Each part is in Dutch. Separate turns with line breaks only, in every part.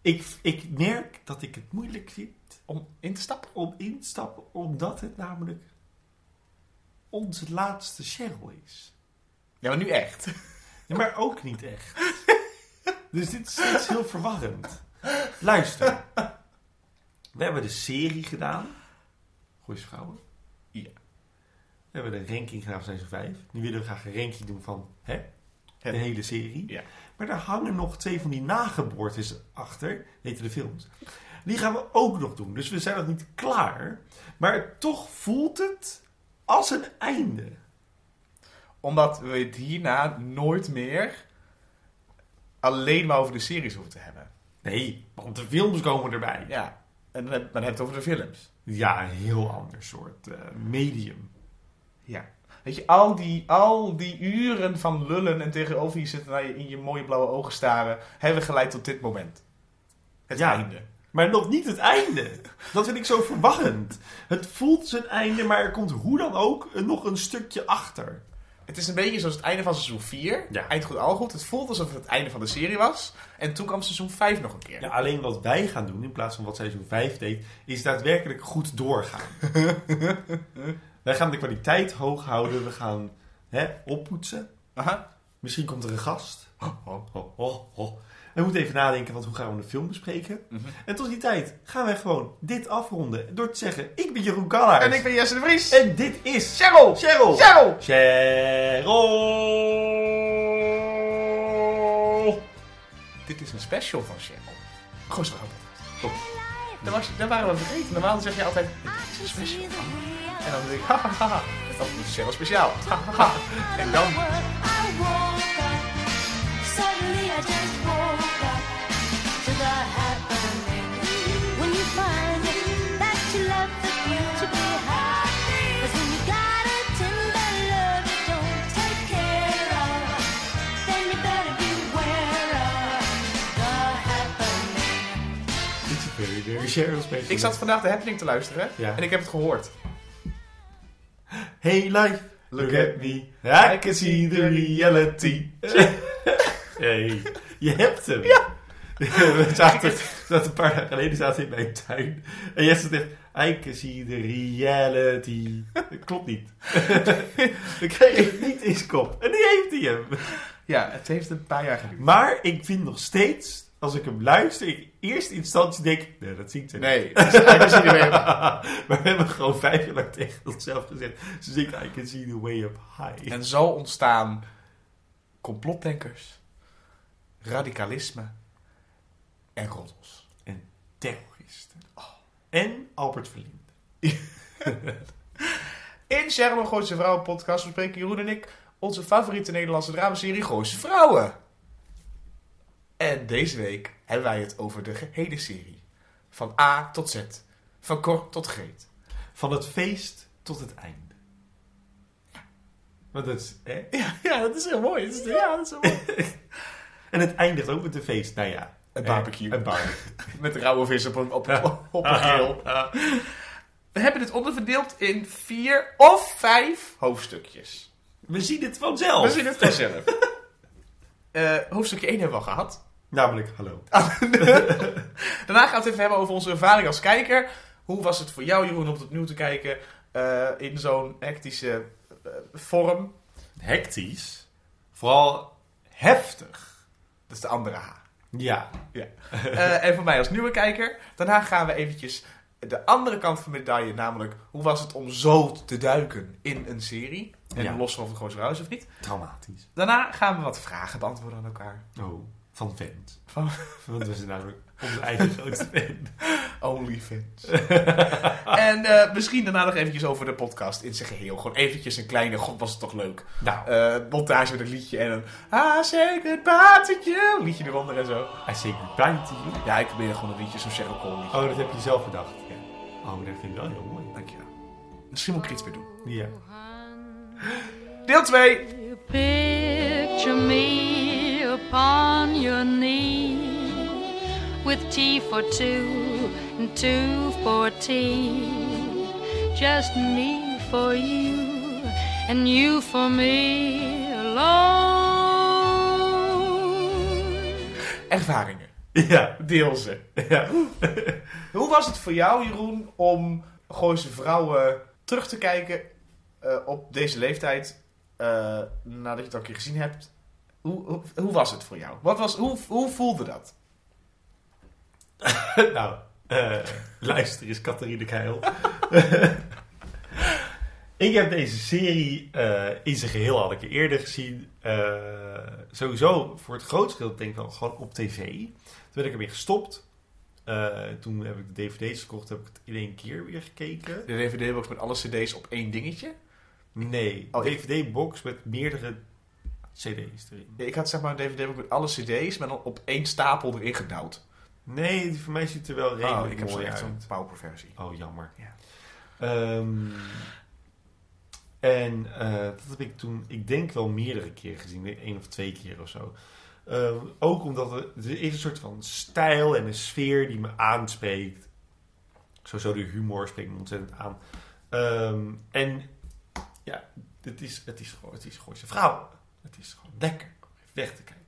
Ik, ik merk dat ik het moeilijk vind
Om in te stappen?
om in te stappen, omdat het namelijk onze laatste Cheryl is.
Ja, maar nu echt.
Ja, maar ook niet echt. Dus dit is steeds heel verwarrend. Luister. We hebben de serie gedaan. Goeie vrouwen.
Ja.
We hebben de ranking gedaan van seizoen 5. Nu willen we graag een ranking doen van hè, de
Het-
hele serie.
Ja.
Maar daar hangen nog twee van die nageboortes achter. Heten de films. Die gaan we ook nog doen. Dus we zijn nog niet klaar. Maar toch voelt het als een einde.
Omdat we het hierna nooit meer alleen maar over de series hoeven te hebben.
Nee, want de films komen erbij.
Ja. En dan heb, dan heb je het over de films.
Ja, een heel ander soort eh, medium.
Ja. Weet je, al die, al die uren van lullen en tegenover je zitten naar je, in je mooie blauwe ogen staren, hebben geleid tot dit moment. Het
Ja.
einde.
Maar nog niet het einde. Dat vind ik zo verwarrend. Het voelt zijn einde, maar er komt hoe dan ook een- nog een stukje achter.
Het is een beetje zoals het einde van seizoen 4.
Ja.
Eind goed, al goed. Het voelt alsof het het einde van de serie was. En toen kwam seizoen 5 nog een keer.
Ja, alleen wat wij gaan doen, in plaats van wat seizoen 5 deed, is daadwerkelijk goed doorgaan. wij gaan de kwaliteit hoog houden. We gaan hè, oppoetsen.
Aha.
Misschien komt er een gast.
Oh.
Ho, ho, ho. We moeten even nadenken, want hoe gaan we de film bespreken?
Mhm.
En tot die tijd gaan wij gewoon dit afronden door te zeggen, ik ben Jeroen Kallaert.
En ik ben Jesse de Vries.
En dit is
Cheryl!
Cheryl.
Cheryl!
Cheryl!
Dit is een special van Cheryl. Gewoon zo Kom. Daar, was, daar waren we vergeten. Normaal zeg je altijd, dit is een special. En dan denk ik, hahaha. Dat is Cheryl speciaal. Hahaha. En dan...
Suddenly I just woke up to the happening when you find that you love the thrill to be high. 'Cause when you got a tender love you don't take care of, then you better beware of the happening.
Dit is very, very Cheryl special.
Ik zat vandaag de happening te luisteren.
Ja.
En ik heb het gehoord.
Hey life, look at me. I can see the reality. hey, je hebt hem. Ja. We zaten, we zaten een paar dagen geleden zaten we in mijn tuin. En Jesse zegt, I can see the reality. Dat klopt niet. We kregen het niet in zijn kop. En die heeft hij hem.
Ja, het heeft een paar jaar geduurd.
Maar ik vind nog steeds, als ik hem luister, ik in eerste instantie denk, nee, dat ziet ze niet.
Nee, dat is eigenlijk niet meer.
maar we hebben gewoon vijf jaar lang tegen onszelf gezegd. Ze zingt I can see the way up high.
En zo ontstaan complotdenkers, radicalisme en roddels.
terroristen. En Albert Verlinde.
In Cheryl en Gooise Vrouwen podcast bespreken Jeroen en ik onze favoriete Nederlandse dramaserie Gooise Vrouwen. En deze week hebben wij het over de gehele serie. Van A tot Z. Van kort tot greet.
Van het feest tot het einde. Want dat is, hè?
Ja, ja dat is heel mooi. Dat is, ja, dat is heel mooi.
En het eindigt ook met een feest. Nou ja.
Een
eh,
barbecue.
Een barbecue.
Met rauwe vis op een, op, op, op een grill.
Ah, ah.
We hebben dit onderverdeeld in vier of vijf hoofdstukjes.
We zien het vanzelf.
We zien het vanzelf. Eh hoofdstukje 1 hebben we al gehad.
Namelijk, hallo.
Ah. Daarna gaan we het even hebben over onze ervaring als kijker. Hoe was het voor jou, Jeroen, om het opnieuw te kijken eh, in zo'n hectische eh, vorm?
Hectisch. Vooral heftig.
Dat is de andere H.
Ja.
Eh, en voor mij als nieuwe kijker. Daarna gaan we eventjes de andere kant van de medaille, namelijk hoe was het om zo te duiken in een serie? En
Ja.
los van of het gewoon zo raar is of niet.
Traumatisch.
Daarna gaan we wat vragen beantwoorden aan elkaar.
Oh, van vent.
Van-
Want we zijn namelijk onze eigen grootste fan.
OnlyFans. en eh, misschien daarna nog eventjes over de podcast in zijn geheel. Gewoon eventjes een kleine, god was het toch leuk.
Nou,
Eh, montage met een liedje en een Ah, zeker batertje. Liedje eronder en zo.
I say goodbye to you.
Ja, ik probeer gewoon een liedje, zo'n Cheryl Cole liedje.
Oh, dat heb je zelf bedacht.
Ja.
Oh, dat vind ik wel heel mooi.
Dankjewel. Misschien moet ik er iets mee doen.
Ja.
Deel 2.
You picture me upon your knee with tea for two and two for tea. Just me for you and you for me alone.
Ervaringen.
Ja,
Deel ze.
ja.
Hoe was het voor jou, Jeroen, om Gooise vrouwen terug te kijken eh, op deze leeftijd, eh, nadat je het al een keer gezien hebt? Hoe, hoe, hoe was het voor jou? Wat was, hoe, hoe voelde dat?
nou, eh, luister eens, Catharine Keil. ik heb deze serie eh, in zijn geheel al een keer eerder gezien. Eh, sowieso voor het grootste deel denk ik wel gewoon op tv. Toen ben ik ermee gestopt. Eh, toen heb ik de dvd's gekocht, heb ik het in één keer weer gekeken.
De DVD-box met alle cd's op één dingetje?
Nee,
Oh, ik-
dvd-box met meerdere cd's erin.
Ik had zeg maar een DVD-box met alle cd's, maar dan op één stapel erin gedouwd.
Nee, Oh, die voor mij ziet er wel redelijk
Oh, ik heb zo'n
mooi
echt
uit.
zo'n pauperversie.
Oh, jammer.
Ja.
Ehm, en eh, dat heb ik toen, ik denk wel meerdere keren gezien. één of twee keer of zo. Ehm, ook omdat er, er is een soort van stijl en een sfeer die me aanspreekt. Sowieso de humor spreekt me ontzettend aan. Ehm, en ja, het is, het is gewoon, het is gewoon zijn vrouw. Het is gewoon lekker om even weg te kijken.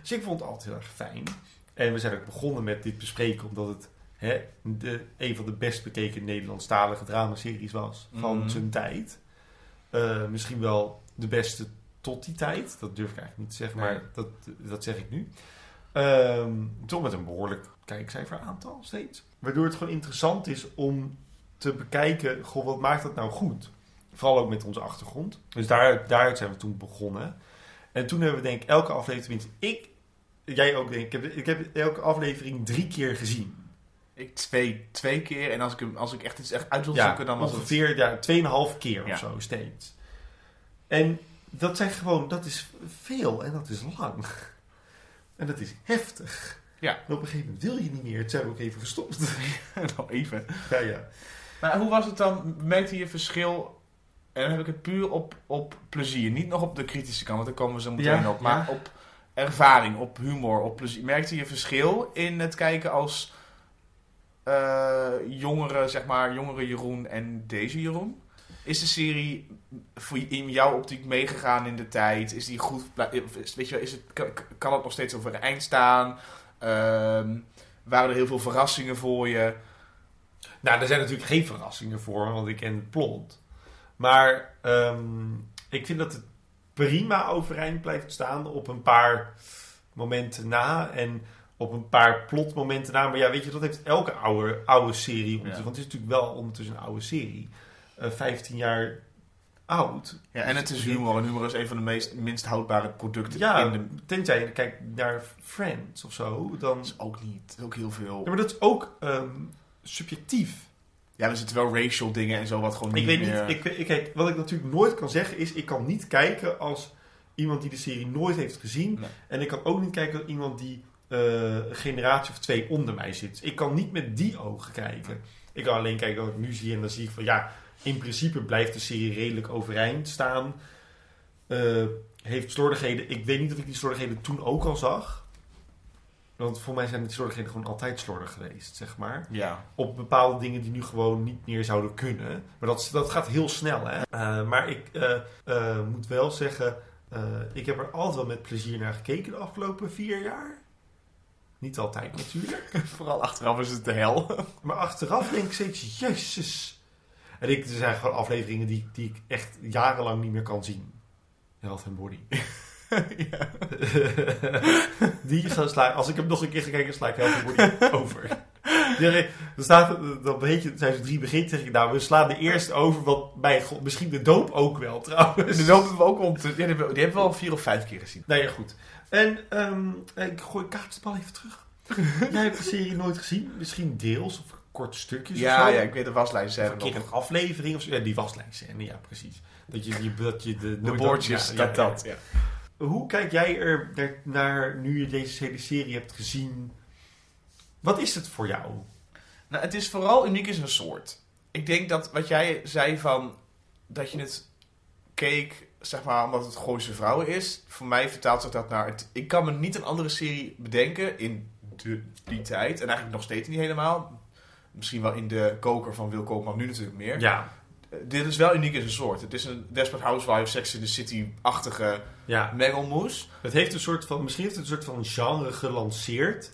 Dus ik vond het altijd heel erg fijn. En we zijn ook begonnen met dit bespreken omdat het hè, de, een van de best bekeken Nederlandstalige dramaseries was van
Mhm.
zijn tijd. Eh, misschien wel de beste tot die tijd. Dat durf ik eigenlijk niet te zeggen,
Nee.
maar dat, dat zeg ik nu. Ehm, toch met een behoorlijk kijkcijferaantal steeds. Waardoor het gewoon interessant is om te bekijken, goh, wat maakt dat nou goed? Vooral ook met onze achtergrond. Dus daar, daaruit zijn we toen begonnen. En toen hebben we denk ik elke aflevering, tenminste ik, jij ook denk ik, ik heb, ik heb elke aflevering drie keer gezien.
Ik twee, twee keer en als ik, hem- als ik echt iets echt uit wil
ja,
zoeken, dan was het...
ongeveer ja, 2,5 keer
Ja.
of zo steeds. En dat zijn gewoon, dat is veel en dat is lang. En dat is heftig.
Ja.
En op een gegeven moment wil je niet meer. Het zijn we ook even gestopt.
nou, even.
ja, ja.
Maar hoe was het dan? Merkte je verschil? En dan heb ik het puur op, op plezier. Niet nog op de kritische kant, want daar komen we zo meteen
Ja,
op. Maar op ervaring, op humor, op plezier. Merkte je verschil in het kijken als eh, jongere, zeg maar, jongere Jeroen en deze Jeroen? Is de serie voor in jouw optiek meegegaan in de tijd? Is die goed? pla- is- Weet je, wel, is het, kan- kan het nog steeds overeind staan? Ehm, waren er heel veel verrassingen voor je?
Nou, er zijn natuurlijk geen verrassingen voor, want ik ken het plot. Maar ehm, ik vind dat het prima overeind blijft staan op een paar momenten na. En op een paar plotmomenten na. Maar ja, weet je, dat heeft elke oude, oude serie. ondertussen.
Ja.
Want het is natuurlijk wel ondertussen een oude serie. Eh 15 jaar oud.
Ja, en het is Dus humor. En humor is een van de meest, minst houdbare producten
Ja,
in de...
tenzij je kijkt naar Friends of zo. Dan...
Dat is ook niet. Dat is ook heel veel.
Ja, maar dat is ook ehm, subjectief.
Ja, er zitten wel racial dingen en zo wat gewoon niet
Ik weet
meer...
niet, ik, ik, kijk, wat ik natuurlijk nooit kan zeggen is, ik kan niet kijken als iemand die de serie nooit heeft gezien.
Nee.
En ik kan ook niet kijken als iemand die eh, een generatie of twee onder mij zit. Ik kan niet met die ogen kijken. Ik kan alleen kijken wat ik nu zie en dan zie ik van, ja, in principe blijft de serie redelijk overeind staan. Eh, heeft slordigheden, ik weet niet of ik die slordigheden toen ook al zag. Want voor mij zijn die slordigheden gewoon altijd slordig geweest, zeg maar
Ja.
op bepaalde dingen die nu gewoon niet meer zouden kunnen. Maar dat, dat gaat heel snel, hè. Eh, maar ik eh, eh, moet wel zeggen, eh, ik heb er altijd wel met plezier naar gekeken de afgelopen vier jaar. Niet altijd natuurlijk.
Vooral achteraf is het de hel.
Maar achteraf denk ik steeds, jezus. En ik, er zijn gewoon afleveringen die, die ik echt jarenlang niet meer kan zien. Health and Body. die gaan sla, als ik hem nog een keer ga kijken, sla ik Health and Body over. Ja, nee, Dan staat, dan weet je, zijn ze drie begint, zeg ik, nou, we slaan de eerste over, want bij God, misschien de doop ook wel trouwens.
Dus lopen we ook om te... Ja, die hebben we- die hebben we al vier of vijf keer gezien.
Nou ja, goed. En ehm, ik gooi Kaat de bal even terug. Jij hebt de serie nooit gezien, misschien deels of korte stukjes of
Ja,
zo.
ja, ik weet de waslijst
Of
zijn
een
nog.
keer een aflevering of zo. Ja, die waslijstscène, ja, precies. Dat je, die, dat je de,
De boordjes,
ja, ja,
dat,
ja.
dat. Ja.
Hoe kijk jij er naar, naar nu je deze hele serie hebt gezien? Wat is het voor jou?
Nou, het is vooral uniek in zijn soort. Ik denk dat wat jij zei van... Dat je het keek, zeg maar, omdat het Gooise Vrouwen is. Voor mij vertaalt zich dat naar... Het, ik kan me niet een andere serie bedenken in de, die tijd. En eigenlijk nog steeds niet helemaal. Misschien wel in de koker van Wil Koopman nu natuurlijk meer.
Ja,
Eh, dit is wel uniek in zijn soort. Het is een Desperate Housewives, Sex in the City-achtige
ja.
mengelmoes.
Het heeft een soort van, misschien heeft het een soort van genre gelanceerd.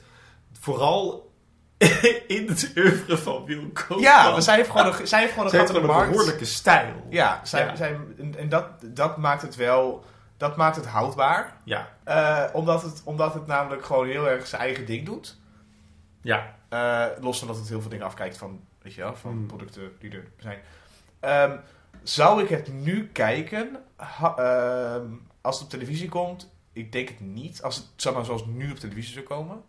vooral in het oeuvre van Wil Koopman.
Ja, maar zij heeft gewoon een, zij heeft gewoon een
Ze Oh, heeft gewoon
gat in de
een
markt.
behoorlijke stijl.
Ja, zij,
Ja.
Zij, en- en dat, dat maakt het wel... Dat maakt het houdbaar.
Ja,
Eh, omdat, het, omdat het namelijk gewoon heel erg zijn eigen ding doet.
ja.
Eh, los van dat het heel veel dingen afkijkt van, weet je wel, van
Hmm.
producten die er zijn. Ehm, zou ik het nu kijken ha- ehm, als het op televisie komt? Ik denk het niet. Als het zeg maar, zoals nu op televisie zou komen.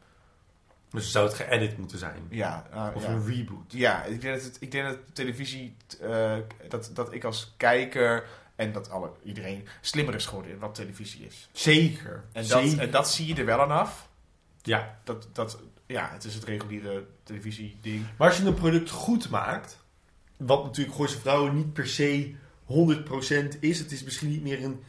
Dus zou het geëdit moeten zijn.
Ja, nou,
Of
ja.
een reboot.
Ja, ik denk dat, het, ik denk dat televisie, eh, dat, dat ik als kijker en dat alle, iedereen slimmer is geworden in wat televisie is.
Zeker.
En dat,
Zeker.
en dat zie je er wel aan af.
Ja.
Dat, dat, ja, het is het reguliere televisieding.
Maar als je een product goed maakt, wat natuurlijk Gooise Vrouwen niet per se 100% is. Het is misschien niet meer een,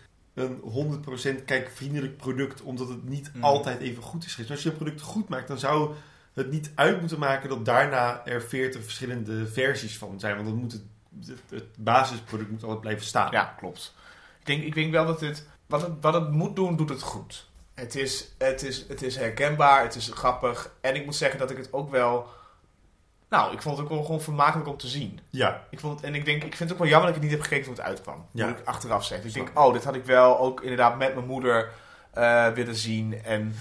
een 100% kijkvriendelijk product, omdat het niet
Mm.
altijd even goed is geweest. Maar als je een product goed maakt, dan zou het niet uit moeten maken dat daarna er 40 verschillende versies van zijn. Want dan moet het, het, het basisproduct moet altijd blijven staan.
Ja, klopt. Ik denk, ik denk wel dat het wat, het... wat het moet doen, doet het goed. Het is, het, is, het is herkenbaar, het is grappig. En ik moet zeggen dat ik het ook wel... Nou, ik vond het ook wel gewoon vermakelijk om te zien.
ja.
Ik vond het, en ik, denk, ik vind het ook wel jammer dat ik het niet heb gekeken toen het uitkwam.
Ja.
Moet ik achteraf zeggen. Ik
Snap
denk, oh, dit had ik wel ook inderdaad met mijn moeder eh, willen zien. En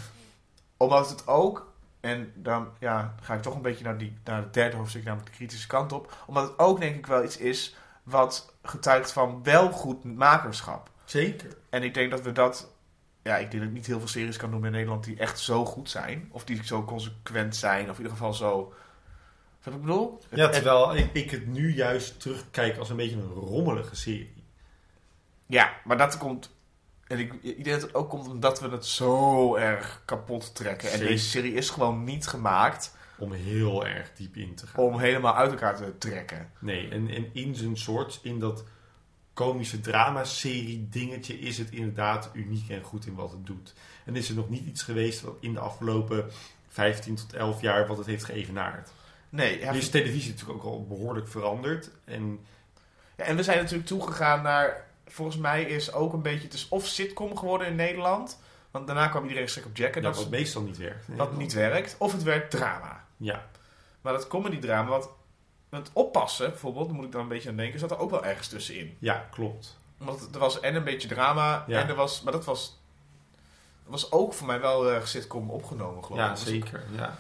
omdat het ook... En dan ja, ga ik toch een beetje naar, die, naar het derde hoofdstuk, namelijk de kritische kant op. Omdat het ook denk ik wel iets is wat getuigt van wel goed makerschap.
Zeker.
En ik denk dat we dat... Ja, ik denk dat ik niet heel veel series kan noemen in Nederland die echt zo goed zijn. Of die zo consequent zijn. Of in ieder geval zo... Wat ik bedoel?
Ja, terwijl ik, ik het nu juist terugkijk als een beetje een rommelige serie.
Ja, maar dat komt. En ik, ik denk dat het ook komt omdat we het zo erg kapot trekken. En
Zeker.
deze serie is gewoon niet gemaakt
Om heel erg diep in te gaan.
om helemaal uit elkaar te trekken.
Nee, en, en in zijn soort, in dat komische dramaserie dingetje, is het inderdaad uniek en goed in wat het doet. En is er nog niet iets geweest wat in de afgelopen 15 tot 11 jaar wat het heeft geëvenaard.
Nee, ja,
Nu is televisie natuurlijk ook al behoorlijk veranderd. En
ja, en we zijn natuurlijk toegegaan naar. Volgens mij is ook een beetje. Het is of sitcom geworden in Nederland. Want daarna kwam iedereen schrik op Jack. En
dat
dat,
wat meestal niet werkt. Nee,
dat niet werkt. Of het werd drama.
Ja,
Maar dat comedy drama, wat. Het oppassen bijvoorbeeld, daar moet ik dan een beetje aan denken, zat er ook wel ergens tussenin.
ja, klopt.
Omdat er was en een beetje drama.
Ja.
En er was, maar dat was, dat was ook voor mij wel eh sitcom opgenomen, geloof ik.
Ja,
Dat was
zeker. Ja.
ook-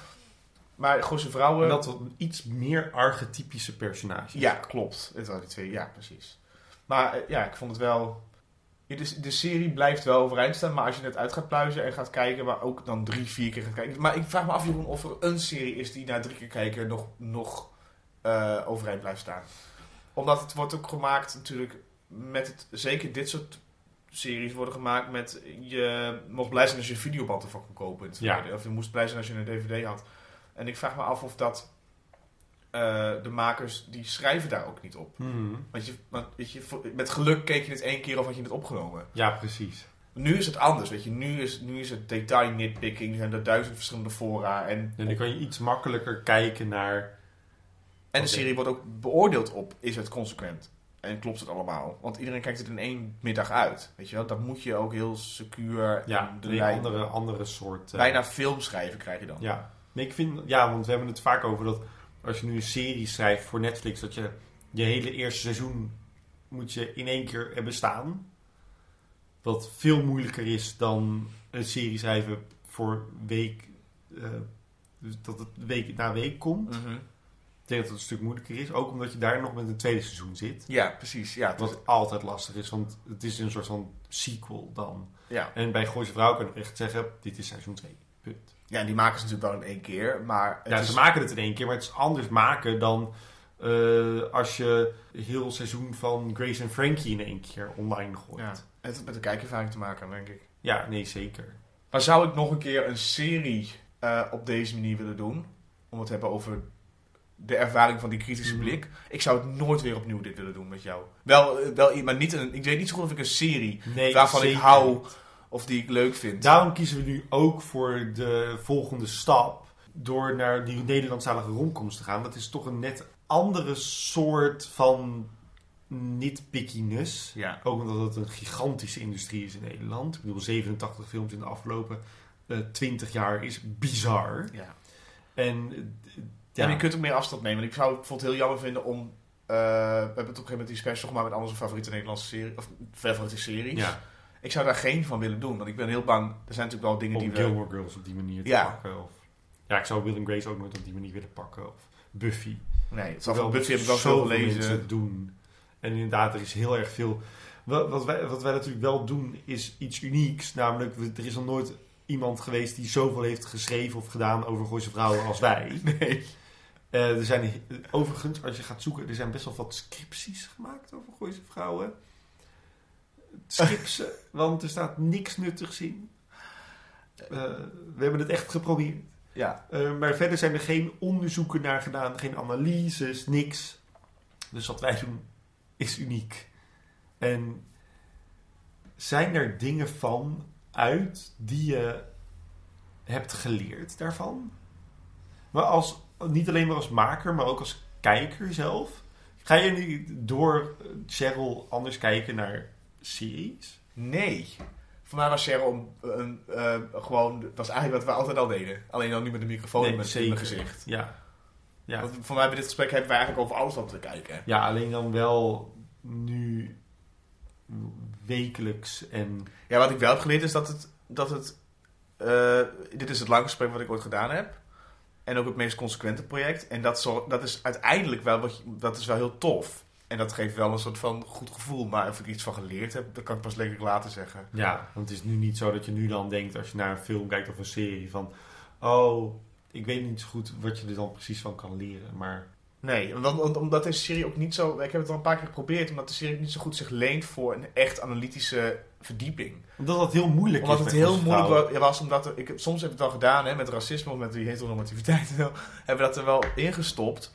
Maar Goze Vrouwen...
En dat wat iets meer archetypische personages.
Ja, klopt. Het waren die twee. Ja, precies. Maar eh, ja, ik vond het wel... Ja, De, de serie blijft wel overeind staan, maar als je het uit gaat pluizen en gaat kijken, maar ook dan drie, vier keer gaat kijken. Maar ik vraag me af, Jeroen, of er een serie is die na drie keer kijken nog, nog eh, overeind blijft staan. Omdat het wordt ook gemaakt natuurlijk met het, zeker dit soort series worden gemaakt met, je mocht blij zijn als je een videoband ervan kon kopen in het
Ja.
verleden. Of je moest blij zijn als je een dvd had. En ik vraag me af of dat eh, de makers, die schrijven daar ook niet op.
Mhm.
Want je, want, weet je, voor- met geluk keek je het één keer of had je het opgenomen.
ja precies.
Nu is het anders, weet je. Nu is, nu is het detail nitpicking. Er zijn er duizend verschillende fora. En,
En dan kan je iets makkelijker kijken naar...
en
Oké.
de serie wordt ook beoordeeld op, is het consequent? En klopt het allemaal? Want iedereen kijkt het in één middag uit, weet je wel. Dat moet je ook heel secuur...
Ja,
en de
een
lijn-
andere, andere soort... eh,
Bijna filmschrijven krijg je dan.
Ja. Nee, ik vind, ja, want we hebben het vaak over dat als je nu een serie schrijft voor Netflix, dat je je hele eerste seizoen moet je in één keer hebben staan. Wat veel moeilijker is dan een serie schrijven voor week, eh, dus dat het week na week komt.
Mhm.
Ik denk dat het een stuk moeilijker is, ook omdat je daar nog met een tweede seizoen zit.
ja precies. Ja, het is-
Wat altijd lastig is, want het is een soort van sequel dan.
ja.
En bij Gooise Vrouw kan ik echt zeggen, dit is seizoen 2. Punt.
ja, en die maken ze natuurlijk wel in één keer. Maar het
Ja,
is-
ze maken het in één keer, maar het is anders maken dan eh, als je heel seizoen van Grace en Frankie in één keer online gooit.
ja,
Ja,
het heeft met de kijkervaring te maken, denk ik.
nee, zeker.
Maar zou ik nog een keer een serie eh, op deze manier willen doen? Om het te hebben over de ervaring van die kritische
Mhm.
blik. Ik zou het nooit weer opnieuw dit willen doen met jou. Wel, eh, wel maar niet een, ik weet niet zo goed of ik een serie
Nee,
waarvan
zeker.
ik hou of die ik leuk vind.
Daarom kiezen we nu ook voor de volgende stap door naar die Nederlandstalige rondkomst te gaan. Dat is toch een net andere soort van nitpickiness.
ja.
Ook omdat het een gigantische industrie is in Nederland. Ik bedoel, 87 films in de afgelopen eh, 20 jaar is bizar.
ja.
En eh, ja,
En je kunt ook meer afstand nemen. Ik zou het bijvoorbeeld heel jammer vinden om... eh, we hebben het op een gegeven moment die special gemaakt met al onze favoriete Nederlandse serie, of favoriete series.
ja,
Ik zou daar geen van willen doen, want ik ben heel bang. Er zijn natuurlijk wel dingen die
om
we...
Gilmore Girls op die manier te
Ja.
pakken. Of, ja, ik zou Will and Grace ook nooit op die manier willen pakken. Of Buffy.
Nee, het zal
Wel
van Buffy heb ik wel
zoveel
veel gelezen.
mensen het doen. En inderdaad, er is heel erg veel. Wat, wat, wij, wat wij natuurlijk wel doen, is iets unieks. Namelijk, we- er is nog nooit iemand geweest die zoveel heeft geschreven of gedaan over Gooise vrouwen als wij.
Nee.
Eh, er zijn, eh, overigens, als je gaat zoeken, er zijn best wel wat scripties gemaakt over Gooise vrouwen. Skip ze, want er staat niks nuttigs in. Eh, we hebben het echt geprobeerd.
Ja,
Eh, maar verder zijn er geen onderzoeken naar gedaan, geen analyses, niks. Dus wat wij doen is uniek. En zijn er dingen van uit die je hebt geleerd daarvan? Maar als, niet alleen maar als maker, maar ook als kijker zelf. Ga je nu door eh, Cheryl anders kijken naar series?
nee. Voor mij was Cheryl om een, eh, gewoon... Het was eigenlijk wat we altijd al deden. Alleen dan nu met een microfoon
Nee,
in mijn- in
zeker.
mijn gezicht.
Ja. Ja.
Want voor mij bij dit gesprek hebben we eigenlijk over alles wat we kijken.
Ja, alleen dan wel nu wekelijks en...
Ja, wat ik wel heb geleerd is dat het... Dat het eh, dit is het langste gesprek wat ik ooit gedaan heb. En ook het meest consequente project. En dat, zo, dat is uiteindelijk wel, wat je- dat is wel heel tof. En dat geeft wel een soort van goed gevoel. Maar of ik er iets van geleerd heb, dat kan ik pas lekker later zeggen.
Ja, want het is nu niet zo dat je nu dan denkt als je naar een film kijkt of een serie van... Oh, ik weet niet zo goed wat je er dan precies van kan leren, maar...
Nee, want, want- omdat deze serie ook niet zo... Ik heb het al een paar keer geprobeerd. Omdat de serie niet zo goed zich leent voor een echt analytische verdieping.
Omdat dat heel moeilijk
Omdat
is.
het
met
heel
onze
moeilijk
vrouwen.
wa- ja, was, omdat er- ik, heb- soms heb ik het al gedaan hè, met racisme of met die heteronormativiteit. en zo, hebben we dat er wel ingestopt.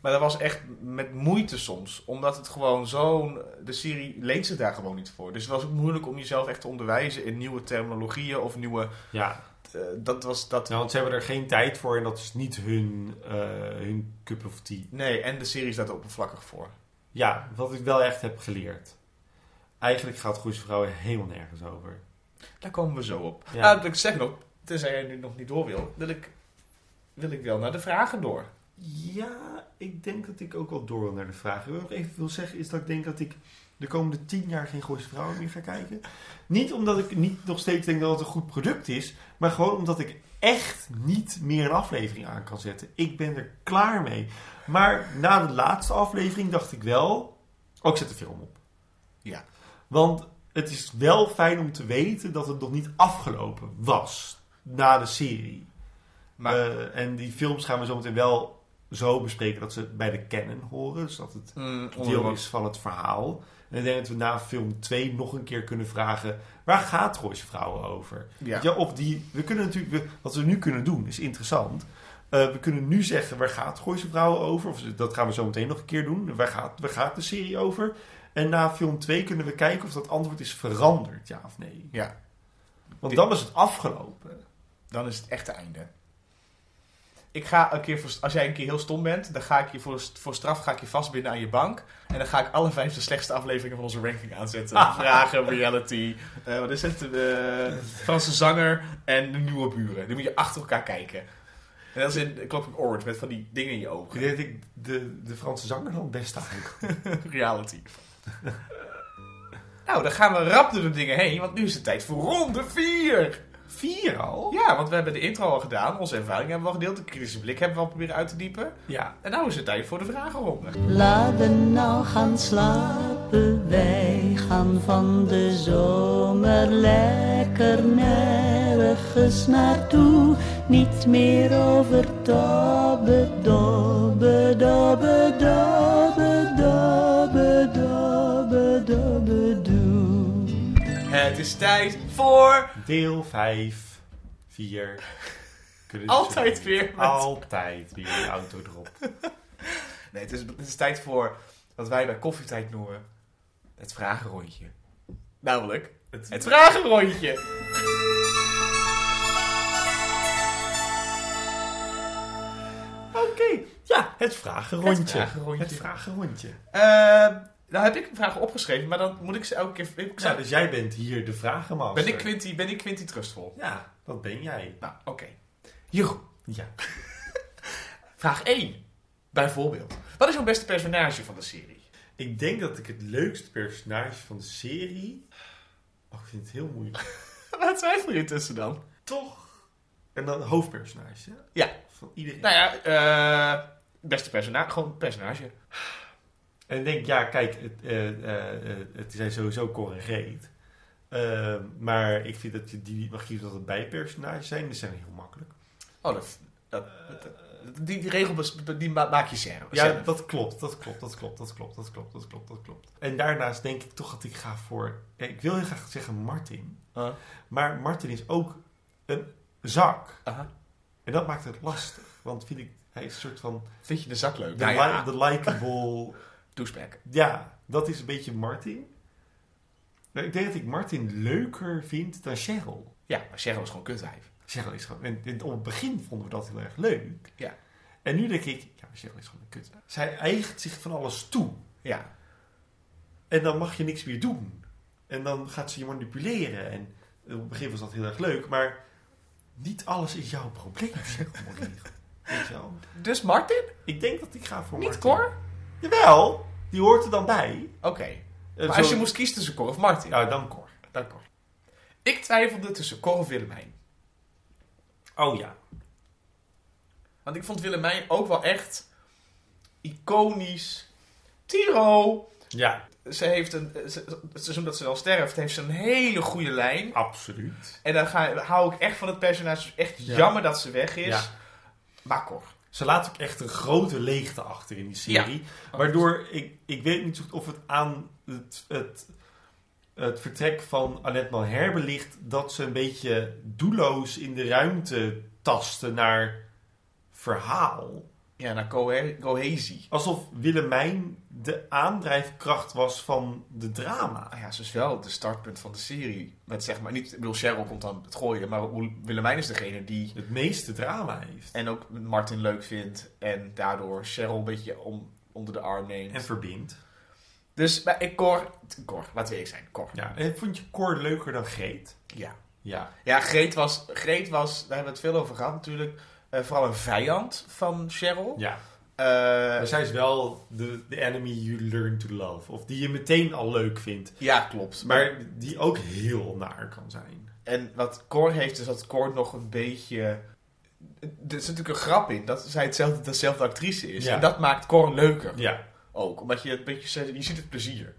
Maar dat was echt met moeite soms. Omdat het gewoon zo'n. De serie leent zich daar gewoon niet voor. Dus het was ook moeilijk om jezelf echt te onderwijzen in nieuwe terminologieën of nieuwe.
Ja,
eh, dat was dat.
nou, want ze hebben er geen tijd voor en dat is niet hun, eh, hun cup of tea.
Nee, en de serie is daar te oppervlakkig voor.
Ja, wat ik wel echt heb geleerd. Eigenlijk gaat Goeie Vrouwen helemaal nergens over.
Daar komen we zo op.
Ja.
Ja. Nou, ik zeg nog, tenzij jij nu nog niet door wil, wil ik, wil ik wel naar de vragen door.
Ja, ik denk dat ik ook wel door wil naar de vraag. Wat ik nog even wil zeggen is dat ik denk dat ik de komende tien jaar geen Gooise Vrouwen meer ga kijken. Niet omdat ik niet nog steeds denk dat het een goed product is, maar gewoon omdat ik echt niet meer een aflevering aan kan zetten. Ik ben er klaar mee. Maar na de laatste aflevering dacht ik wel, oh, ik zet de film op.
Ja.
Want het is wel fijn om te weten dat het nog niet afgelopen was na de serie.
Maar
Eh, en die films gaan we zometeen wel zo bespreken dat ze bij de canon horen. Dus dat het
mm,
deel is van het verhaal. En ik denk dat we na film 2 nog een keer kunnen vragen... waar gaat Gooise Vrouwen over?
ja.
Ja, of die, we kunnen natuurlijk, we- wat we nu kunnen doen is interessant. Eh, we kunnen nu zeggen waar gaat Gooise Vrouwen over? Of, dat gaan we zo meteen nog een keer doen. Waar gaat, waar gaat de serie over? En na film 2 kunnen we kijken of dat antwoord is veranderd, ja of nee.
Ja.
Want dan is het afgelopen.
dan is het echte einde. Ik ga een keer voor, als jij een keer heel stom bent, dan ga ik je voor, voor straf ga ik je vastbinden aan je bank. En dan ga ik alle vijf de slechtste afleveringen van onze ranking aanzetten. Vragen, reality, eh, wat is het? Eh, Franse zanger en de nieuwe buren. Die moet je achter elkaar kijken. En dat is in Clockwork Orange met van die dingen in je
Ik
ogen.
denk dat ik de, de Franse zanger dan het beste aankomt.
reality. nou, dan gaan we rap door de dingen heen, want nu is het tijd voor ronde 4.
Vier al?
Ja, want we hebben de intro al gedaan, onze ervaring hebben we al gedeeld, de kritische blik hebben we al proberen uit te diepen.
Ja.
En nou is het tijd voor de vragenronde.
Laten nou gaan slapen, wij gaan van de zomer lekker nergens naartoe. Niet meer over dobbe, dobbe, dobbe, dobbe, dobbe, dobbe, dobbe, doe.
Het is tijd voor
Deel 5, 4.
altijd weer. met-
Ah. Altijd weer de auto erop.
Nee, het is, het is tijd voor wat wij bij koffietijd noemen het vragenrondje. Namelijk
Het-
het vragenrondje.
Oké, ja, het vragenrondje.
Het vragenrondje.
Het vragenrondje.
Eh, nou heb ik vragen opgeschreven, maar dan moet ik ze elke keer. Ik
Nou,
zou,
dus jij bent hier de vragenmaster.
ben ik Quinty, ben ik Quinty trustvol?
Ja, dat ben jij.
Nou, oké. Jeroen,
Ja.
Vraag 1. Bijvoorbeeld. Wat is jouw beste personage van de serie?
Ik denk dat ik het leukste personage van de serie. Oh, ik vind het heel moeilijk.
Waar twijfel je tussen dan?
Toch? En dan hoofdpersonage. hè?
Ja.
Van iedereen.
Nou ja, eh, beste personage. Gewoon personage.
En ik denk, ja, kijk, het, eh, eh, eh, het zijn sowieso Cor en Greet. Ehm, maar ik vind dat je die mag kiezen dat het bijpersonage zijn. Dat zijn heel makkelijk.
Oh, dat, dat, die, die regel bes- die ma- maak je zelf.
Ja, dat klopt, dat klopt, dat klopt, dat klopt, dat klopt, dat klopt, dat klopt. En daarnaast denk ik toch dat ik ga voor... eh, Ik wil heel graag zeggen Martin.
Ah.
Maar Martin is ook een zak.
Aha.
En dat maakt het lastig. Want vind ik, hij is een soort van...
Vind je de zak leuk?
De,
nou ja,
li- de likable...
douchebag.
Ja, dat is een beetje Martin. Nou, Ik denk dat ik Martin leuker vind dan Cheryl.
Ja, maar Cheryl is gewoon kutwijf.
Cheryl is gewoon... En, en op het begin vonden we dat heel erg leuk.
Ja.
En nu denk ik... Ja, maar Cheryl is gewoon een kut. Zij eigent zich van alles toe.
Ja.
En dan mag je niks meer doen. En dan gaat ze je manipuleren. En op het begin was dat heel erg leuk. Maar niet alles is jouw probleem, Cheryl Morin. Weet je wel?
Dus Martin?
Ik denk dat ik ga voor
Niet
Martin.
Cor?
Jawel, die hoort er dan bij.
Oké.
Eh,
Maar
zo-
als je moest kiezen tussen Cor of Martin?
Ja, dan Cor.
Dan Cor. Ik twijfelde tussen Cor of Willemijn.
Oh ja.
Want ik vond Willemijn ook wel echt iconisch. Tiro!
Ja,
Ze heeft een. eh, Ze, ze- omdat ze dan sterft, heeft ze een hele goede lijn.
absoluut.
En dan ga, hou ik echt van het personage. Het is echt
Ja.
jammer dat ze weg is.
Ja.
Maar Cor.
Ze laat ook echt een grote leegte achter in die serie. Waardoor ik, ik weet niet of het aan het, het, het vertrek van Annette Malherbe ligt dat ze een beetje doelloos in de ruimte tasten naar verhaal.
Ja, naar cohe- cohesie.
Alsof Willemijn de aandrijfkracht was van de drama.
Ah ja, ze is wel het startpunt van de serie. Met zeg maar, niet, ik bedoel, Cheryl komt dan het gooien, maar Wil- Willemijn is degene die
Het meeste drama heeft.
en ook Martin leuk vindt en daardoor Cheryl een beetje om, onder de arm neemt.
En verbindt.
Dus maar ik Cor, Cor, laten we eerlijk zijn, Cor.
Ja. En vond je Cor leuker dan Greet?
Ja.
Ja.
Ja, Greet was, Greet was, daar hebben we het veel over gehad natuurlijk, eh, vooral een vijand van Cheryl. Eh,
Ja.
Ja,
Maar zij is wel de, de enemy you learn to love. Of die je meteen al leuk vindt.
ja klopt.
Maar die ook heel naar kan zijn.
En wat Cor heeft, is dat Cor nog een beetje. Er zit natuurlijk een grap in dat zij hetzelfde, dezelfde actrice is.
Ja.
En dat maakt Cor leuker
Ja.
ook. Omdat je het beetje. Je ziet het plezier.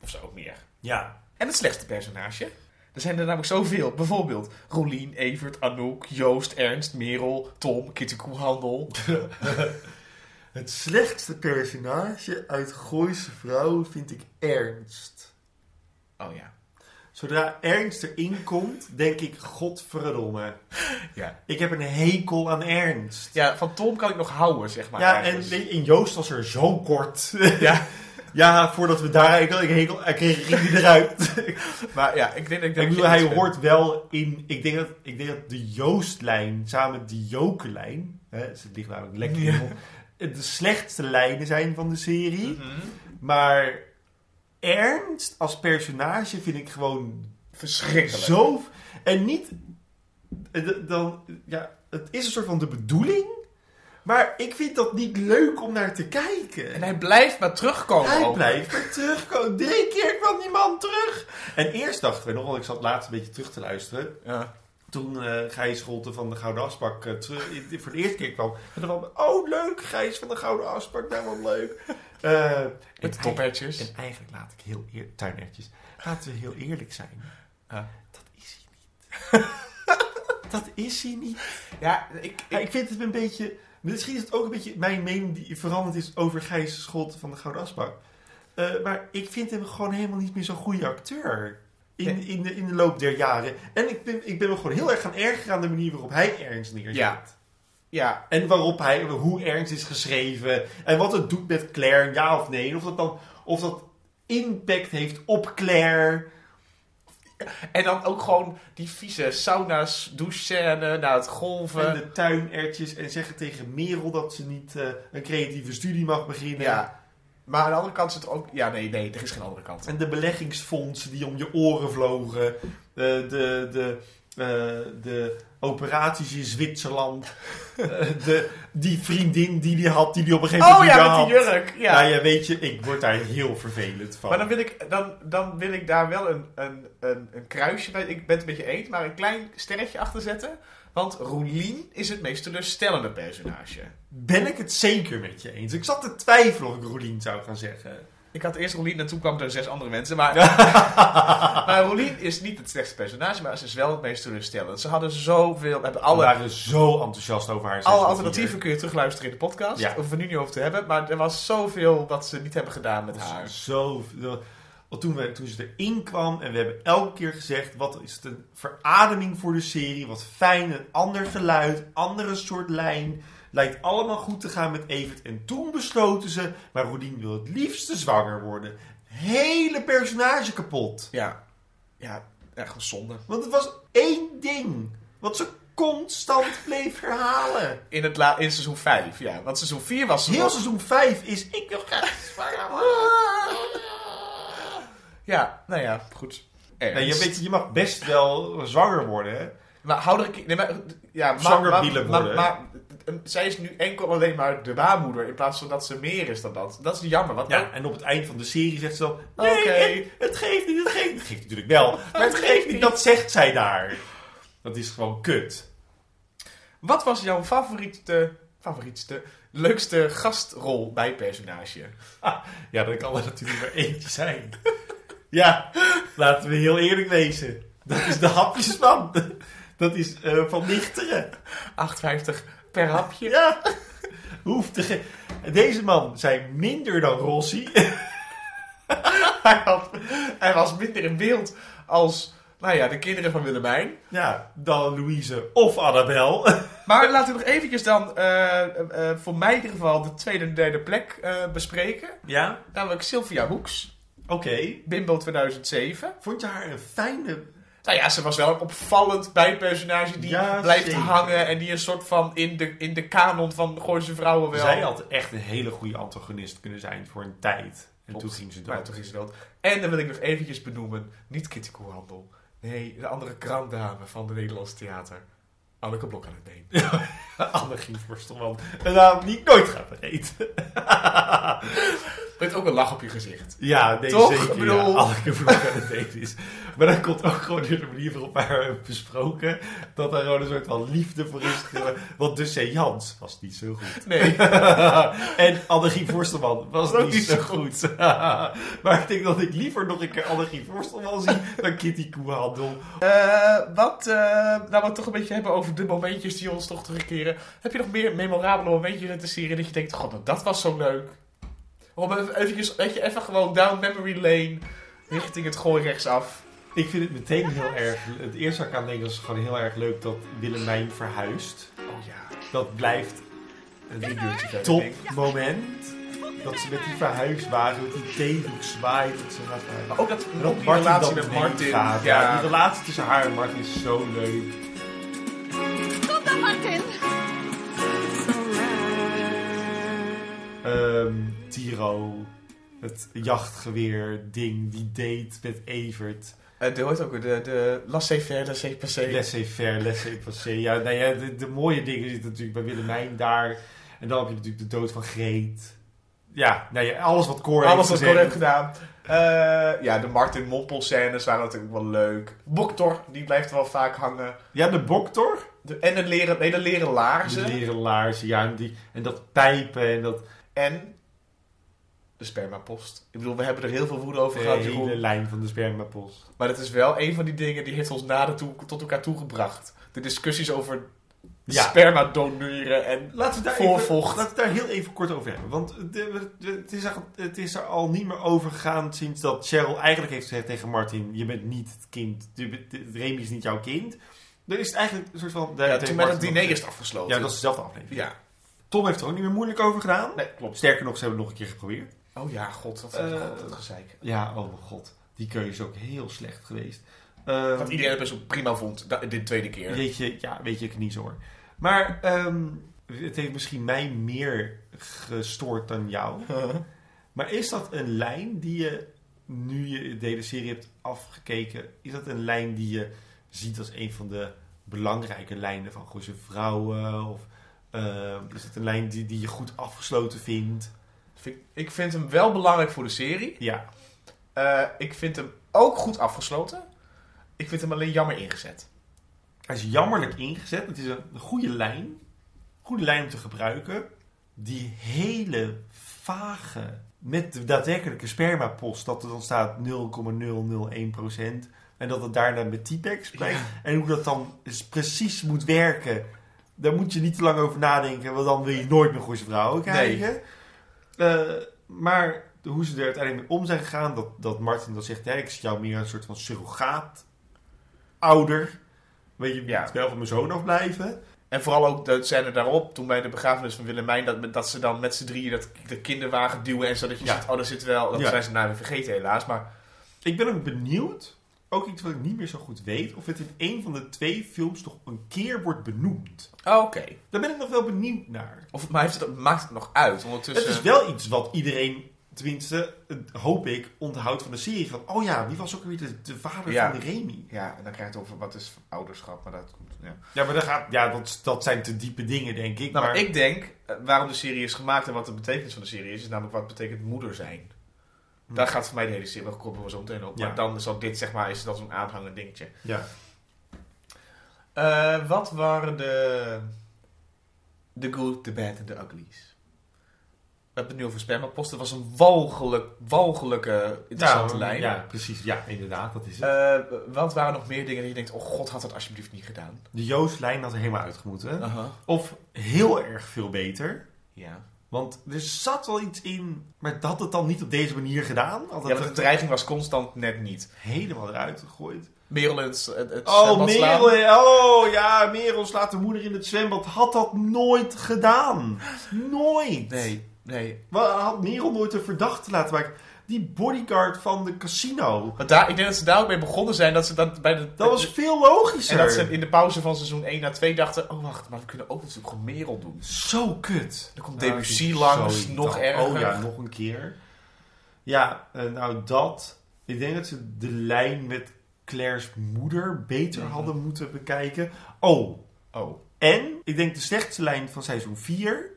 Of zo meer.
Ja.
En het slechtste personage. Er zijn er namelijk zoveel. Bijvoorbeeld Rolien, Evert, Anouk, Joost, Ernst, Merel, Tom, Kitty Koehandel.
Het slechtste personage uit Gooise Vrouw vind ik Ernst.
Oh ja.
Zodra Ernst erin komt, denk ik, godverdomme.
Ja,
Ik heb een hekel aan Ernst.
ja van Tom kan ik nog houden, zeg maar.
ja, en
ergens.
weet je, in Joost was er zo kort.
Ja.
ja, voordat we daar... Ik, ik, hekel, ik kreeg hij eruit.
Maar ja, ik denk dat
Ik
ik... dat
bedoel, hij
eens ben.
hoort wel in. Ik denk dat, ik denk dat de Joostlijn samen met de Jokelijn. Hè, ze liggen namelijk lekker in. de mond, De slechtste lijnen zijn van de serie.
Mhm.
Maar Ernst als personage vind ik gewoon
Verschrikkelijk.
zo. En niet. eh, d- Dan, ja, het is een soort van de bedoeling. Maar ik vind dat niet leuk om naar te kijken.
En hij Oh. blijft maar terugkomen.
Hij
ook.
blijft maar terugkomen. Drie keer kwam die man terug. En eerst dachten we nog, want ik zat laatst een beetje terug te luisteren.
Ja.
Toen eh Gijs Scholte van de Gouden Asbak eh, terug, in- voor de eerste keer kwam. En dan van, oh leuk, Gijs van de Gouden Asbak, nou wat leuk. Eh, en,
Met
eigenlijk,
toppertjes.
en eigenlijk laat ik heel eerlijk, tuinertjes, laten we heel eerlijk zijn.
Ja.
Dat is hij niet. dat is hij niet.
Ja, ik,
Ja,
ik,
ik vind het een beetje, misschien is het ook een beetje mijn mening die veranderd is over Gijs Scholte van de Gouden Asbak. Eh, maar ik vind hem gewoon helemaal niet meer zo'n goede acteur. In, in, de, in de loop der jaren. En ik ben, ik ben me gewoon heel erg gaan ergeren aan de manier waarop hij Ernst neerzet.
Ja. ja,
En waarop hij, hoe Ernst is geschreven. En wat het doet met Claire, ja of nee. En Of dat dan of dat impact heeft op Claire.
en dan ook gewoon die vieze sauna's, douchescène, na het golven.
En de tuinertjes. En zeggen tegen Merel dat ze niet eh, een creatieve studie mag beginnen.
ja. Maar aan de andere kant zit er ook... Ja, nee, nee, er is geen andere kant.
En de beleggingsfondsen die om je oren vlogen. Eh, de, de, eh, de operaties in Zwitserland. eh, de, die vriendin die die had, die die op een gegeven
Oh
moment
ja,
had. Nou
met die jurk. Ja.
Ja. ja, weet je, ik word daar heel vervelend van.
Maar dan wil, ik, dan, dan wil ik daar wel een, een, een, een kruisje bij. Ik ben het een beetje eens, maar een klein sterretje achter zetten. Want Roelien is het meest teleurstellende personage.
Ben ik het zeker met je eens? Ik zat te twijfelen of ik Roelien zou gaan zeggen.
Ik had eerst Roelien en toen kwamen er zes andere mensen. Maar, maar Roelien is niet het slechtste personage, maar ze is wel het meest teleurstellend. Ze hadden zoveel, hebben
Alle
alle,
waren zo enthousiast over haar.
alle
seizoen
alternatieven kun je terugluisteren in de podcast.
Ja.
Of we nu niet over te hebben, maar er was zoveel wat ze niet hebben gedaan met
vier.
haar.
Zo. Want Toen, we, toen ze erin kwam en we hebben elke keer gezegd: wat is het een verademing voor de serie? Wat fijn, een ander geluid, andere soort lijn. Lijkt allemaal goed te gaan met Evert. En toen besloten ze: maar Roelien wil het liefste zwanger worden. Hele personage kapot.
Ja, ja echt wel zonde.
Want het was één ding wat ze constant bleef herhalen.
In, het la, in seizoen 5, ja. Want seizoen 4 was ze
Heel
nog-
seizoen 5 is ik wil graag zwanger
Ja, nou ja, goed. Ernst.
Nee, je, weet, je mag best wel zwanger worden, hè?
Maar hou er een keer... Nee, maar, ja, maar,
Zanger
maar-
Bielen
maar,
worden.
maar- en zij is nu enkel alleen maar de baarmoeder in plaats van dat ze meer is dan dat. Dat is jammer. Want
Ja, en op het eind van de serie zegt ze dan... Nee,
Oké.
het, het geeft niet, het geeft niet. Het geeft natuurlijk wel, maar het geeft niet. Dat zegt zij daar. Dat is gewoon kut.
Wat was jouw favoriete, favorietste, leukste gastrol bij personage?
Ah, Ja, dat kan er natuurlijk maar eentje zijn. Ja, laten we heel eerlijk wezen. Dat is de hapjesman. Dat is eh, van Nichteren.
8,50 per hapje.
Ja. Hoeft te ge- Deze man zijn minder dan Rossi.
Hij, had- hij was minder in beeld als nou ja, de kinderen van Willemijn.
Ja, dan Louise of Annabel.
Maar laten we nog eventjes dan, eh, eh, eh, voor mij in ieder geval, de tweede en derde plek eh, bespreken.
Ja,
Namelijk Sylvia Hoeks,
oké.
Bimbo 2007.
Vond je haar een fijne...
Nou ja, ze was wel een opvallend bijpersonage die
Ja,
blijft
zeker.
hangen en die een soort van in de, in de kanon van Gooise vrouwen wel.
Zij had echt een hele goede antagonist kunnen zijn voor een tijd. En
Klopt.
toen ging ze
Maar
dood.
toen ging ze dood. En dan wil ik nog eventjes benoemen, niet Kitty Koehandel. Nee, de andere krantdame van de Nederlandse theater. Anneke Blok aan het been.
Anne-Gien Forstelman. Een naam die ik nooit ga vergeten.
Met ook een lach op je gezicht.
Ja, nee,
Toch?
zeker.
Ik bedoel-
Ja, Anneke Broek aan het date is. Maar dat komt ook gewoon door de manier waarop wij haar hebben besproken. Dat daar gewoon een soort van liefde voor is. Want dus zei Jans was niet zo goed.
Nee,
en Annegie Forstelman was
Ook
niet,
niet
zo
zo
goed. maar ik denk dat ik liever nog een keer Annegie Forstelman zie dan Kitty Koehandel.
Eh, wat, eh, nou, wat we het toch een beetje hebben over de momentjes die ons toch terugkeren. Heb je nog meer memorabele momentjes uit de serie dat je denkt, god, nou, dat was zo leuk. Om even, eventjes, weet je, even gewoon down memory lane richting het gooi rechtsaf.
Ik vind het meteen heel erg... Het eerste wat ik aan denk is gewoon heel erg leuk dat Willemijn verhuist.
Oh ja,
Dat blijft
een uurtje verder.
top moment. Dat ze met die verhuiswagen, met die theedoek zwaait. Dat ze gaat verhuizen.
Maar ook dat,
En
ook
dat
die
Martin dan
relatie met
mee
Martin.
gaat. Ja, die relatie tussen haar en Martin is zo leuk.
Kom dan, Martin.
Ehm, Tiro, het jachtgeweer ding, die date met Evert.
Eh, de hoort ook weer, de, de laissez-faire, laissez-passer.
Laissez-faire, laissez-passer. Ja, nou ja, de, de mooie dingen zitten natuurlijk bij Willemijn daar. En dan heb je natuurlijk de dood van Greet. Ja, nou ja, alles wat Cor
Alles wat
heeft
ik heb
gezegd.
gedaan. Eh, ja, de Martin Mompel scènes waren natuurlijk wel leuk. Boktor, die blijft wel vaak hangen.
Ja, de boktor.
De, en de leren, nee, de leren laarzen.
De leren laarzen, ja. En, die, en dat pijpen en dat
En de spermapost. Ik bedoel, we hebben er heel veel woede over
de
gehad,
eh, hele
Jeroen.
lijn van de spermapost.
Maar dat is wel een van die dingen die heeft ons nader toe, tot elkaar toegebracht. De discussies over
Ja.
sperma doneren en...
Laten we, daar even,
Voorvocht.
laten we daar heel even kort over hebben. Want de- de- het, is er, het is er al niet meer over gegaan sinds dat Cheryl eigenlijk heeft gezegd tegen Martin... Je bent niet het kind, je bent- Remy is niet jouw kind. Er is het eigenlijk een soort van... daar
Ja,
heeft
toen met
Martin
het diner
nog-
is het afgesloten.
Ja, dat is dezelfde aflevering.
Ja.
Tom heeft er ook niet meer moeilijk over gedaan.
Nee, klopt.
Sterker nog, ze hebben het nog een keer geprobeerd.
Oh ja, god, wat
Eh,
god, dat gezeik.
Ja, oh mijn god. Die keuze is ook heel slecht geweest. Ehm,
Wat iedereen het best wel prima vond, da- dit tweede keer.
Weet je, ja, weet je kniezen hoor. Maar ehm, het heeft misschien mij meer gestoord dan jou. Maar is dat een lijn die je, nu je de hele serie hebt afgekeken, is dat een lijn die je ziet als een van de belangrijke lijnen van Goze Vrouwen. Of eh, is het een lijn die, die je goed afgesloten vindt?
Vind- Ik vind hem wel belangrijk voor de serie.
Ja,
Eh, ik vind hem ook goed afgesloten. Ik vind hem alleen jammer ingezet.
hij is jammerlijk ingezet. Het is een goede lijn. Goede lijn om te gebruiken. Die hele vage, met de daadwerkelijke spermapost, dat er dan staat 0,001%. En dat het daarna met T-Pex blijkt. En hoe dat dan is- precies moet werken. Daar moet je niet te lang over nadenken, want dan wil je nooit meer goede vrouwen krijgen. Eh, maar de- hoe ze er uiteindelijk mee om zijn gegaan, dat, dat Martin dan zegt: hè, ik zie jou meer een soort van surrogaat ouder. Weet je,
Ja.
moet wel van mijn zoon afblijven.
En vooral ook de scène daarop, toen bij de begrafenis van Willemijn, dat, dat ze dan met z'n drieën dat, de kinderwagen duwen en zo. Dat je
Ja.
ziet, oh, daar zit wel. Dat
Ja.
zijn ze nou weer vergeten, helaas. Maar
Ik ben ook benieuwd, ook iets wat ik niet meer zo goed weet, of het in een van de twee films nog een keer wordt benoemd.
oh, oké.
Daar ben ik nog wel benieuwd naar.
Of, maar heeft het, maakt het nog uit? Ondertussen.
Het is wel iets wat iedereen, tenminste, eh, hoop ik, onthoudt van de serie. Van, oh ja, die was ook weer de, de vader
Ja.
van de Remy.
Ja, en dan krijg je het over wat is ouderschap, maar dat komt. Ja.
Ja, maar dat, gaat, ja, dat, dat zijn te diepe dingen, denk ik.
Nou, maar
maar
ik denk eh, waarom de serie is gemaakt en wat de betekenis van de serie is, is namelijk wat betekent moeder zijn.
Hm.
Daar gaat voor mij de hele serie, daar komen we zo meteen op.
Ja.
Maar dan zal dit, zeg maar, is dat zo'n aanhangend dingetje.
Ja.
Eh, wat waren de. The good, the bad en the uglies? We hebben het nu over spermaposten. Het was een walgelijk, walgelijke, interessante
Ja,
lijn.
Ja, precies. Ja, inderdaad, dat is het.
Eh, wat waren nog meer dingen dat je denkt: oh god, had dat alsjeblieft niet gedaan?
de Joost-lijn had er helemaal uitgemoeten.
Aha.
Of heel erg veel beter.
Ja.
Want er zat wel iets in, maar het had het dan niet op deze manier gedaan. Had
ja,
het
want de
er
dreiging was constant net niet.
helemaal eruit gegooid.
Merel en het, het, het
Oh,
zwembad slaan.
Merel, oh ja, Merel slaat de moeder in het zwembad. Had dat nooit gedaan. Nooit.
Nee, nee.
Wa- Had Merel nooit een verdachte laten maken. Die bodyguard van de casino.
Want daar, ik denk dat ze daar ook mee begonnen zijn. Dat ze dat bij de.
Dat was veel logischer.
en dat ze in de pauze van seizoen 1 naar 2 dachten: oh wacht, maar we kunnen ook natuurlijk gewoon Merel doen.
Zo kut.
Dan komt
Nou,
Debussy
ik-
langs,
zo
nog
irritant.
erger.
Oh ja, nog een keer. Ja, eh, nou dat. Ik denk dat ze de lijn met Claire's moeder beter
Mhm.
hadden moeten bekijken. Oh,
Oh.
en ik denk de slechtste lijn van seizoen 4.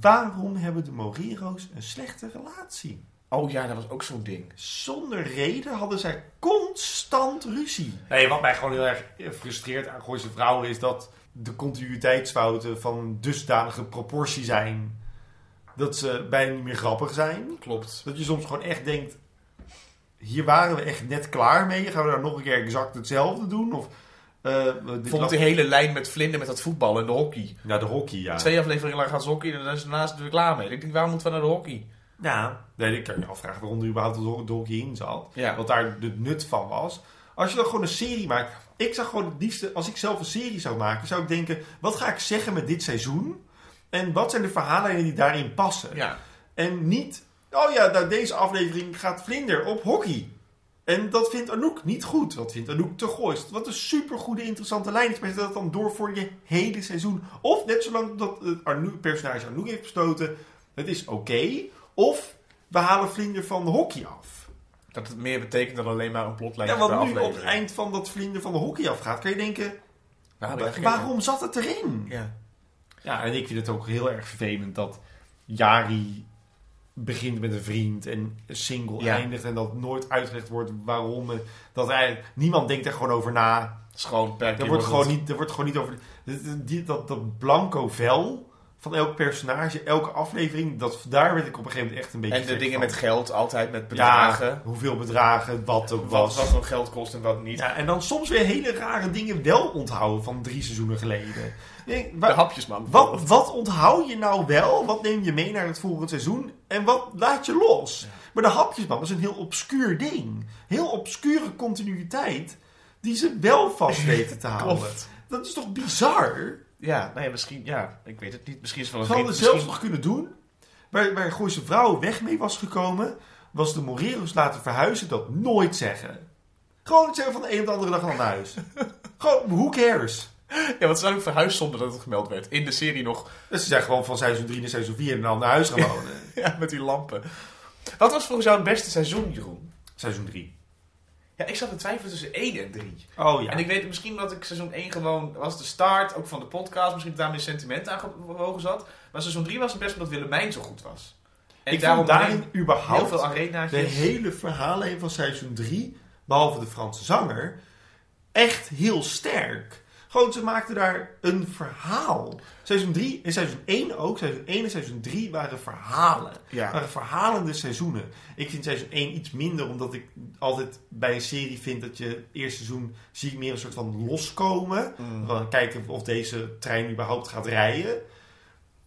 Waarom hebben de Moriro's een slechte relatie?
Oh ja, dat was ook zo'n ding.
Zonder reden hadden zij constant ruzie. Nee, wat mij gewoon heel erg frustreert aan Gooise Vrouwen is dat de continuïteitsfouten van een dusdanige proportie zijn dat ze bijna niet meer grappig zijn.
Klopt.
Dat je soms gewoon echt denkt: hier waren we echt net klaar mee. Gaan we nou nog een keer exact hetzelfde doen? Of eh, dit
Bijvoorbeeld
lag-
die hele lijn met Vlinder met dat voetbal en de hockey.
Ja, de hockey, ja.
Twee afleveringen lang gaan ze hockey en dan is daarnaast weer klaar mee. Ik denk, waarom moeten we naar de hockey?
Ja, nee, ik kan je afvragen waarom er überhaupt een donkey in zat.
Ja.
Wat daar het nut van was. Als je dan gewoon een serie maakt. Ik zou gewoon het liefste, als ik zelf een serie zou maken, zou ik denken: wat ga ik zeggen met dit seizoen? En wat zijn de verhalen die daarin passen?
Ja.
En niet, oh ja, nou, deze aflevering gaat vlinder op hockey. En dat vindt Anouk niet goed. Dat vindt Anouk te gooist. Wat een supergoede, interessante lijn is. Maar zet dat dan door voor je hele seizoen. Of net zolang dat het Arnoe- personage Anouk heeft besloten, het is oké. Of we halen vlinder van de hockey af.
Dat het meer betekent dan alleen maar een plotlijn
Ja,
per
want nu op
aflevering.
het eind van dat vlinder van de hockey afgaat, kan je denken,
Waarom?
wa-
heb ik dat gekeken?
waarom zat het erin?
Ja.
Ja, en ik vind het ook heel erg vervelend dat Jari begint met een vriend en single
Ja.
eindigt en dat nooit uitgelegd wordt waarom. en Dat eigenlijk, niemand denkt er gewoon over na.
Het is gewoon per
Er
keer
wordt gewoon,
het-
niet, er wordt gewoon niet over. dat- die- Dat, dat blanco vel van elk personage, elke aflevering, dat, daar werd ik op een gegeven moment echt een beetje.
En de
gek
dingen
van.
met geld, altijd met
Ja,
bedragen.
hoeveel bedragen, wat er
Wat,
was.
wat voor geld kost en wat niet.
Ja, en dan soms weer hele rare dingen wel onthouden van drie seizoenen geleden. Ik denk, wa-
De hapjesman.
wat, wat onthoud je nou wel? Wat neem je mee naar het volgende seizoen? En wat laat je los? Maar de hapjesman is een heel obscuur ding. Heel obscure continuïteit die ze wel vast weten te houden.
Klopt.
Dat is toch bizar?
Ja, nee, misschien, ja, ik weet het niet. Misschien is het wel
Ze
een
hadden
vriend,
het zelfs
misschien-
nog kunnen doen. Waar, waar Gooise Vrouw weg mee was gekomen, was de Moreros laten verhuizen dat nooit zeggen. Gewoon zeggen van de een op de andere dag al naar huis. Gewoon, who cares?
Ja, want ze zijn ook verhuisd zonder dat het gemeld werd. In de serie nog
Dus ze zijn gewoon van seizoen 3 naar seizoen 4 en dan naar huis gaan wonen.
Ja, met die lampen. Wat was volgens jou het beste seizoen, Jeroen?
seizoen 3.
Ja, ik zat te twijfelen tussen 1 en 3.
Oh ja.
En ik weet het misschien dat ik seizoen 1 gewoon was de start, ook van de podcast, misschien dat daar mijn sentiment aan gewogen zat. Maar seizoen 3 was het best omdat Willemijn zo goed was. En
ik
daarom
vond daarin
alleen heel
überhaupt
veel
de
arenaatjes.
hele verhaallijn van seizoen 3, behalve de Franse zanger, echt heel sterk. Gewoon, ze maakten daar een verhaal. Seizoen 3 en seizoen 1 ook. Seizoen 1 en seizoen 3 waren verhalen.
Ja.
waren verhalende seizoenen. Ik vind seizoen 1 iets minder, omdat ik altijd bij een serie vind dat je het eerste seizoen zie ik meer een soort van loskomen.
Mm,
Van kijken of deze trein überhaupt gaat rijden.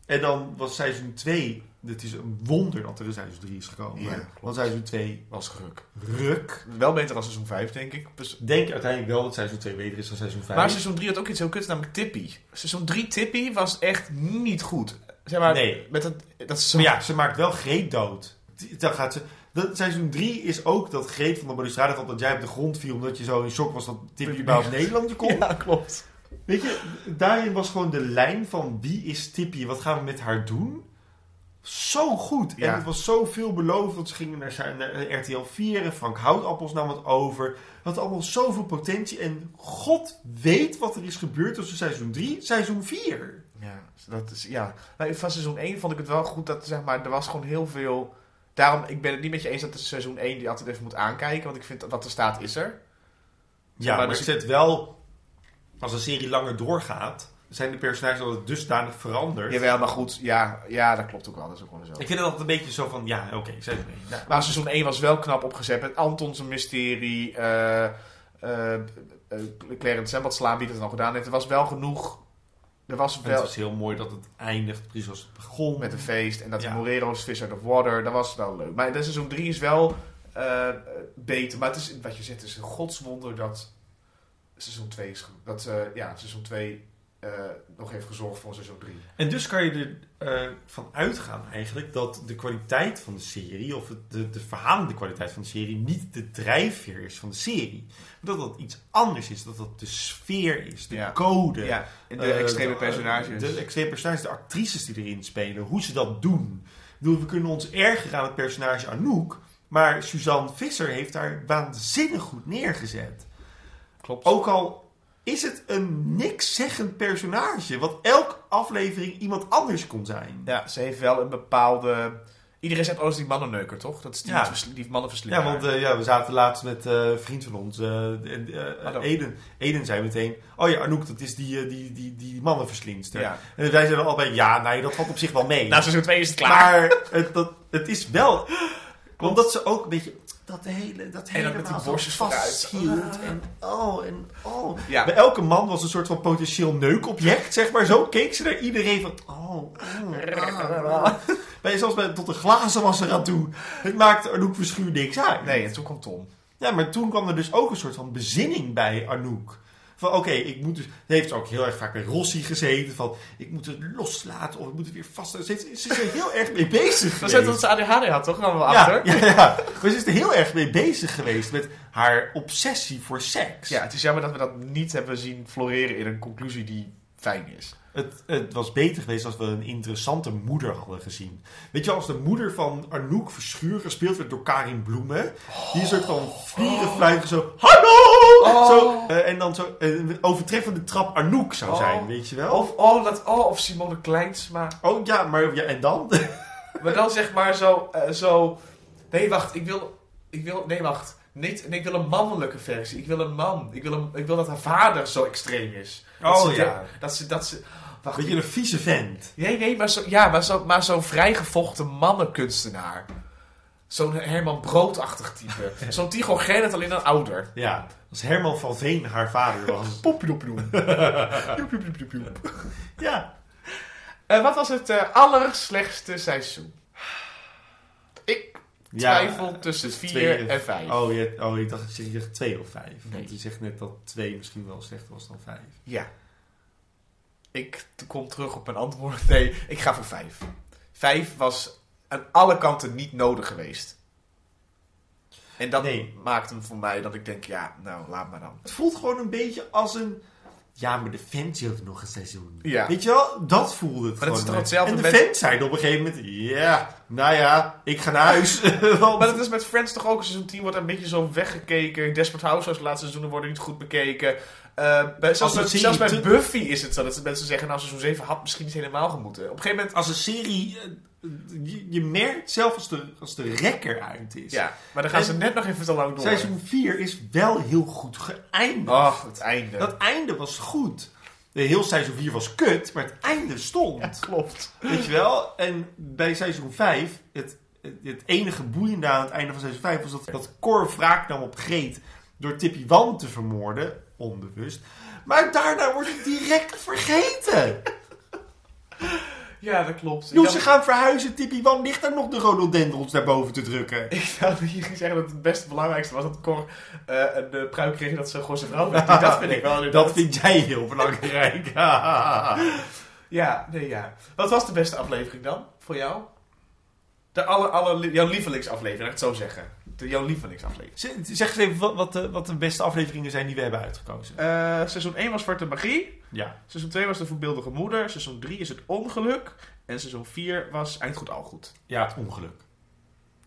En dan was seizoen 2, het is een wonder dat er een seizoen 3 is gekomen.
Ja,
Want seizoen 2
was geruk.
ruk.
Wel beter dan seizoen 5, denk ik. Dus-
Ik denk uiteindelijk wel dat seizoen 2 beter is dan seizoen 5.
Maar seizoen 3 had ook iets heel kuts, namelijk Tippy. Seizoen 3 Tippy was echt niet goed. Zeg maar,
Nee.
met dat, dat is zo...
Maar ja, ze maakt wel Greet dood. Die- Dan gaat ze... Dat, seizoen 3 is ook dat Greet van de balustrade valt dat jij op de grond viel omdat je zo in shock was dat Tippy überhaupt Nederland kon.
Ja, klopt.
Weet je, daarin was gewoon de lijn van wie is Tippy, wat gaan we met haar doen? Zo goed.
Ja.
En het was zo veelbelovend. want Ze gingen naar, zijn- naar RTL 4 en Frank Houtappels nam het over. Had allemaal zoveel potentie. En god weet wat er is gebeurd tussen seizoen 3 seizoen 4.
Ja, dat is, ja. Nou, van seizoen 1 vond ik het wel goed dat, zeg maar, er was gewoon heel veel... Daarom, ik ben het niet met je eens dat de seizoen 1 die altijd even moet aankijken. Want ik vind, dat wat er staat, is er.
Ja,
maar
maar
dus-
ik zet wel, als een serie langer doorgaat, zijn de personages altijd dusdanig veranderd.
Jawel, maar goed, ja, ja, dat klopt ook wel. Dat is ook wel zo.
Ik vind het altijd een beetje zo van, ja, oké, seizoen 1. Nou,
Maar seizoen 1 was wel knap opgezet met Anton zijn mysterie. eh eh eh Clarence en wat slaan wie dat dan gedaan heeft. Er was wel genoeg. Er was
en het
wel
was heel mooi dat het eindigt precies als het begon.
met een feest en dat
Ja.
Morero's Fish Out of Water. Dat was wel leuk. Maar de seizoen 3 is wel eh, eh, beter. Maar het is, wat je zegt, het is een godswonder dat seizoen 2 is, ge- dat, eh, ja, seizoen 2 nog heeft gezorgd voor seizoen 3.
En dus kan je ervan uitgaan eigenlijk dat de kwaliteit van de serie, of het- de, de verhalende kwaliteit van de serie, niet de drijfveer is van de serie. Maar dat dat iets anders is. Dat dat de sfeer is, de
Ja.
code.
Ja, en de
eh,
extreme
eh,
personages.
De extreme personages, de actrices die erin spelen, hoe ze dat doen. Ik bedoel, we kunnen ons erger aan het personage Anouk, maar Suzanne Visser heeft daar waanzinnig goed neergezet.
klopt.
Ook al is het een niks zeggend personage, wat elke aflevering iemand anders kon zijn.
Ja, ze heeft wel een bepaalde... Iedereen zegt, oh, dat is die mannenneuker, toch? Dat is die,
Ja.
vers- die mannenverslinder.
Ja, want eh, ja, we zaten laatst met eh, een vriend van ons, eh, en, eh,
Hallo.
Eden. Eden zei meteen, oh ja, Anouk, dat is die, eh, die, die, die mannenverslindster.
Ja. Nou,
En wij zeiden allebei, ja, nee, dat valt op zich wel mee.
Na seizoen 2 is het klaar.
maar het, dat, het is wel, omdat ze ook een beetje dat hele dat
En dan met die
helemaal zo
borstjes
vasthield.
vooruit.
En oh, en oh.
Ja.
Bij elke man was een soort van potentieel neukobject, zeg maar. Zo keek ze naar iedereen van, oh, oh, ah, ah. Bij, zelfs bij, tot de glazen was er aan toe. Het maakte Anouk Verschuur niks uit.
Nee, en toen kwam Tom.
Ja, maar toen kwam er dus ook een soort van bezinning bij Anouk. Van oké, ik moet dus. Ze heeft ook heel erg vaak bij Rossi gezeten. Van ik moet het loslaten of ik moet het weer vast. Ze, heeft- ze is er heel erg mee bezig.
Dat
geweest.
is dat ze ADHD had, toch? Dan wel
ja,
achter. Ja,
ja, ja. Maar ze is er heel erg mee bezig geweest met haar obsessie voor seks.
het is jammer dat we dat niet hebben zien floreren in een conclusie die fijn is.
Het, het was beter geweest als we een interessante moeder hadden gezien. Weet je, als de moeder van Arnoek Verschuur gespeeld werd door Karin Bloemen. Die een soort van vlierenfluitje zo... Hallo!
Oh.
Zo, eh, en dan zo eh, een overtreffende trap Arnoek zou
Oh.
zijn, weet je wel?
Of, oh, dat, oh, of Simone Kleinsma.
oh ja, maar ja, en dan?
Maar dan zeg maar zo... eh, zo nee, wacht, ik wil... Ik wil nee, wacht. Niet, nee, ik wil een mannelijke versie. Ik wil een man. Ik wil, een, ik wil dat haar vader zo extreem is. Dat
Oh,
ze
ja.
de- dat ze... Dat ze wacht,
Weet je, een vieze vent.
Nee, nee, maar zo'n ja, maar zo, maar zo vrijgevochten mannenkunstenaar. Zo'n Herman Broodachtig type. zo'n Tigo Gerrit, alleen dan ouder.
Ja, als Herman van Veen haar vader was.
Poepiedoepiedoep. Pioep, pioep, pioep, pioep, pioep.
ja.
Eh, Wat was het eh, allerslechtste seizoen? Ik twijfel tussen 4 en 5.
Oh, je, oh, ik dacht, je zegt twee of vijf.
Nee.
Want je zegt net dat twee misschien wel slechter was dan vijf.
Ja. Ik t- kom terug op mijn antwoord. Nee, ik ga voor 5. 5 was aan alle kanten niet nodig geweest. En dat
Nee.
maakt hem voor mij dat ik denk, ja, nou, laat maar dan.
Het voelt gewoon een beetje als een. Ja, maar de fans hielden nog een seizoen.
Ja.
Weet je wel, dat voelde het
Maar dat
gewoon.
is toch
mee.
hetzelfde
en de
met-
fans zeiden op een gegeven moment... Ja, nou ja, ik ga naar huis. Want-
Maar dat is met Friends toch ook. Seizoen 10 wordt een beetje zo weggekeken. Desperate Housewives de laatste seizoenen worden niet goed bekeken. Eh, bij, zelfs
Als
bij,
het
zelfs bij
serie te-
Buffy is het zo dat mensen zeggen... nou, seizoen 7 had misschien niet helemaal gemoeten. Op een gegeven moment...
als een serie... eh, Je, je merkt zelf als de, als de rekker uit is.
Ja, maar dan gaan
En-
ze net nog even te lang door.
Seizoen 4 is wel heel goed geëindigd.
Ach, het einde.
Dat einde was goed. De heel seizoen 4 was kut, maar het einde stond.
klopt.
Weet je wel? En bij seizoen 5, het, het enige boeiende aan het einde van seizoen 5 was dat, dat Cor wraak nam op Greet door Tippy Wan te vermoorden, onbewust. Maar daarna wordt het direct vergeten.
Ja, dat klopt. Ik
Joh,
dacht-
ze gaan verhuizen, Tippy Wan ligt daar nog de rhododendrons naar boven te drukken.
Ik wilde hier zeggen dat het best belangrijkste was dat Cor eh, een eh, pruik kreeg en dat ze gewoon zijn vrouw werd. Dat vind ik wel inderdaad.
Dat vind jij heel belangrijk.
Ja, nee, ja. Wat was de beste aflevering dan voor jou? De aller, aller, jouw lievelingsaflevering, laat ik het zo zeggen. De, jouw lievelingsaflevering.
Z- zeg eens even wat, wat, de, wat de beste afleveringen zijn die we hebben uitgekozen.
Eh, seizoen 1 was Zwarte Magie.
Ja.
Seizoen 2 was De Voorbeeldige Moeder. Seizoen 3 is Het Ongeluk. En seizoen 4 was Eindgoed Al Goed.
Ja, het ongeluk.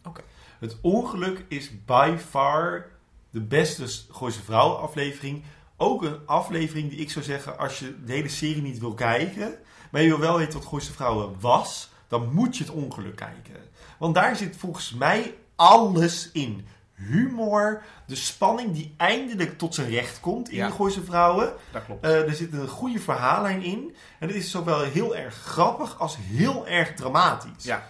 Oké.
Het ongeluk is by far de beste S- Gooise Vrouw aflevering. Ook een aflevering die ik zou zeggen, als je de hele serie niet wil kijken, maar je wil wel weten wat Gooise Vrouwen was, dan moet je het ongeluk kijken. Want daar zit volgens mij alles in. Humor, de spanning die eindelijk tot zijn recht komt in
Ja.
die Gooise Vrouwen.
Dat klopt.
Eh, er zit een goede verhaallijn in. En het is zowel heel erg grappig als heel erg dramatisch.
ja,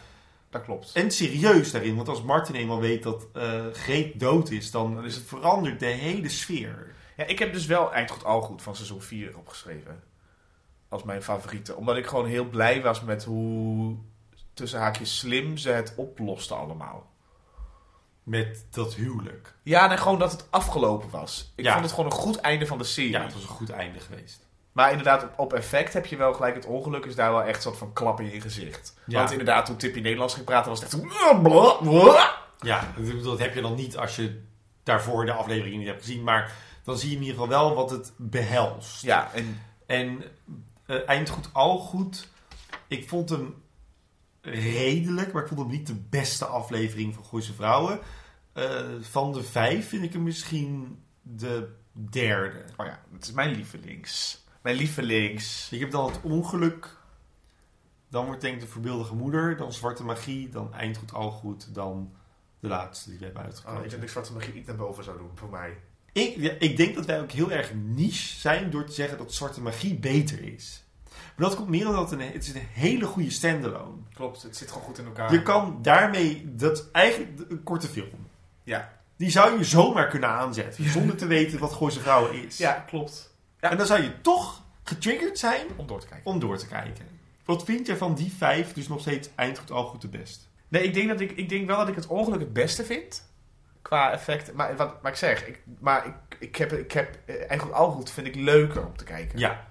dat klopt.
En serieus daarin, want als Martin eenmaal weet dat eh Greet dood is, dan is het veranderd de hele sfeer.
Ja, ik heb dus wel Eindgoed Al Goed van seizoen 4 opgeschreven. Als mijn favoriete. Omdat ik gewoon heel blij was met hoe tussen haakjes slim ze het oplosten allemaal.
Met dat huwelijk.
Ja, en gewoon dat het afgelopen was. Ik
Ja.
vond het gewoon een goed einde van de serie.
Ja, het was een goed einde geweest.
Maar inderdaad, op, op effect heb je wel gelijk. Het ongeluk is daar wel echt een soort van klap in je gezicht.
Ja.
Want inderdaad, toen Tippy Nederlands ging praten, was het echt... zo-
Ja, ik bedoel, dat heb je dan niet als je daarvoor de aflevering niet hebt gezien, maar dan zie je in ieder geval wel wat het behelst.
Ja, en
En eh, Eindgoed al goed. Ik vond hem redelijk, maar ik vond hem niet de beste aflevering van Gooise Vrouwen. Eh, van de vijf vind ik hem misschien de derde.
oh ja, het is mijn lievelings. Mijn lievelings.
Ik heb dan het ongeluk. Dan wordt denk ik de voorbeeldige moeder. Dan zwarte magie. Dan eindgoed al goed. Dan de laatste die we hebben
Oh, ik
uitgekozen.
denk dat ik Zwarte Magie iets naar boven zou doen, voor mij.
ik, ja, ik denk dat wij ook heel erg niche zijn door te zeggen dat zwarte magie beter is. Maar dat komt meer omdat het een, het is een hele goede standalone.
Klopt, het zit gewoon goed in elkaar.
Je kan daarmee, dat is eigenlijk een korte film.
Ja.
Die zou je zomaar kunnen aanzetten. Zonder te weten wat Gooise Vrouwen is.
Ja, klopt. ja.
En dan zou je toch getriggerd zijn
Om door te kijken.
om door te kijken. Wat vind je van die vijf, dus nog steeds eindgoed al goed de best?
Nee, ik denk, dat ik, ik denk wel dat ik het ongeluk het beste vind. Qua effect. Maar wat maar ik zeg, ik, maar ik, ik heb, ik heb eh, eigenlijk al goed vind ik leuker om te kijken.
Ja.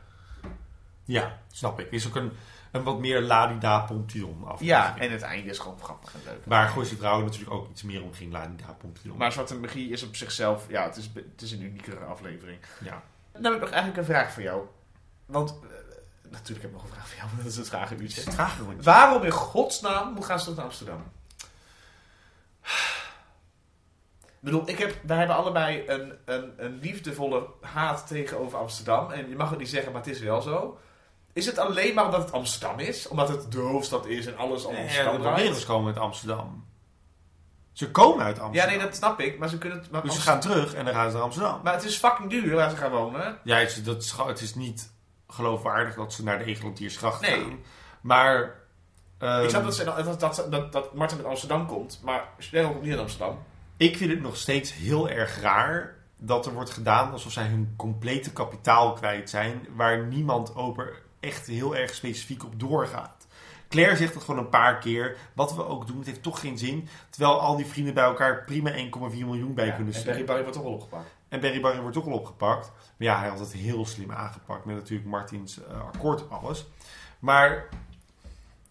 Ja, snap ik. Is ook een, een wat meer ladida pontillon
Ja,
aflevering.
en het einde is gewoon grappig en leuk.
Waar Gooise Vrouwen natuurlijk ook iets meer om ging, ladida pontillon.
Maar Zwarte Magie is op zichzelf, ja, het is, be- het is een uniekere aflevering.
Ja.
Dan heb ik nog eigenlijk een vraag voor jou. Want, eh, natuurlijk heb ik nog een vraag voor jou, want dat is het vragenuurtje.
Graag doen.
Waarom in godsnaam moet gaan ze tot naar Amsterdam? Ik bedoel, ik heb, wij hebben allebei een, een, een liefdevolle haat tegenover Amsterdam. En je mag het niet zeggen, maar het is wel zo. Is het alleen maar omdat het Amsterdam is? Omdat het de hoofdstad is en alles om
Ja,
Amsterdam
de
draait?
Barberos komen uit Amsterdam. Ze komen uit Amsterdam.
Ja, nee, dat snap ik. Maar ze kunnen het... Maar,
Dus ze
Amsterdam-
gaan terug en dan gaan ze naar Amsterdam.
maar het is fucking duur waar ze gaan wonen.
Ja, het is, dat is, het is niet geloofwaardig dat ze naar de Egelantiersgracht
Nee.
gaan. Maar... ehm,
ik snap dat, ze, dat, dat, dat, dat Martin uit Amsterdam komt. Maar Cheryl komt niet uit Amsterdam.
Ik vind het nog steeds heel erg raar dat er wordt gedaan alsof zij hun complete kapitaal kwijt zijn, waar niemand over echt heel erg specifiek op doorgaat. Claire zegt het gewoon een paar keer. Wat we ook doen, het heeft toch geen zin. Terwijl al die vrienden bij elkaar prima 1,4 miljoen bij
Ja,
kunnen
en
steken.
Barry Barry wordt toch wel opgepakt.
En Barry Barry wordt ook al opgepakt. Maar ja, hij had het heel slim aangepakt. Met natuurlijk Martins eh, akkoord op alles. Maar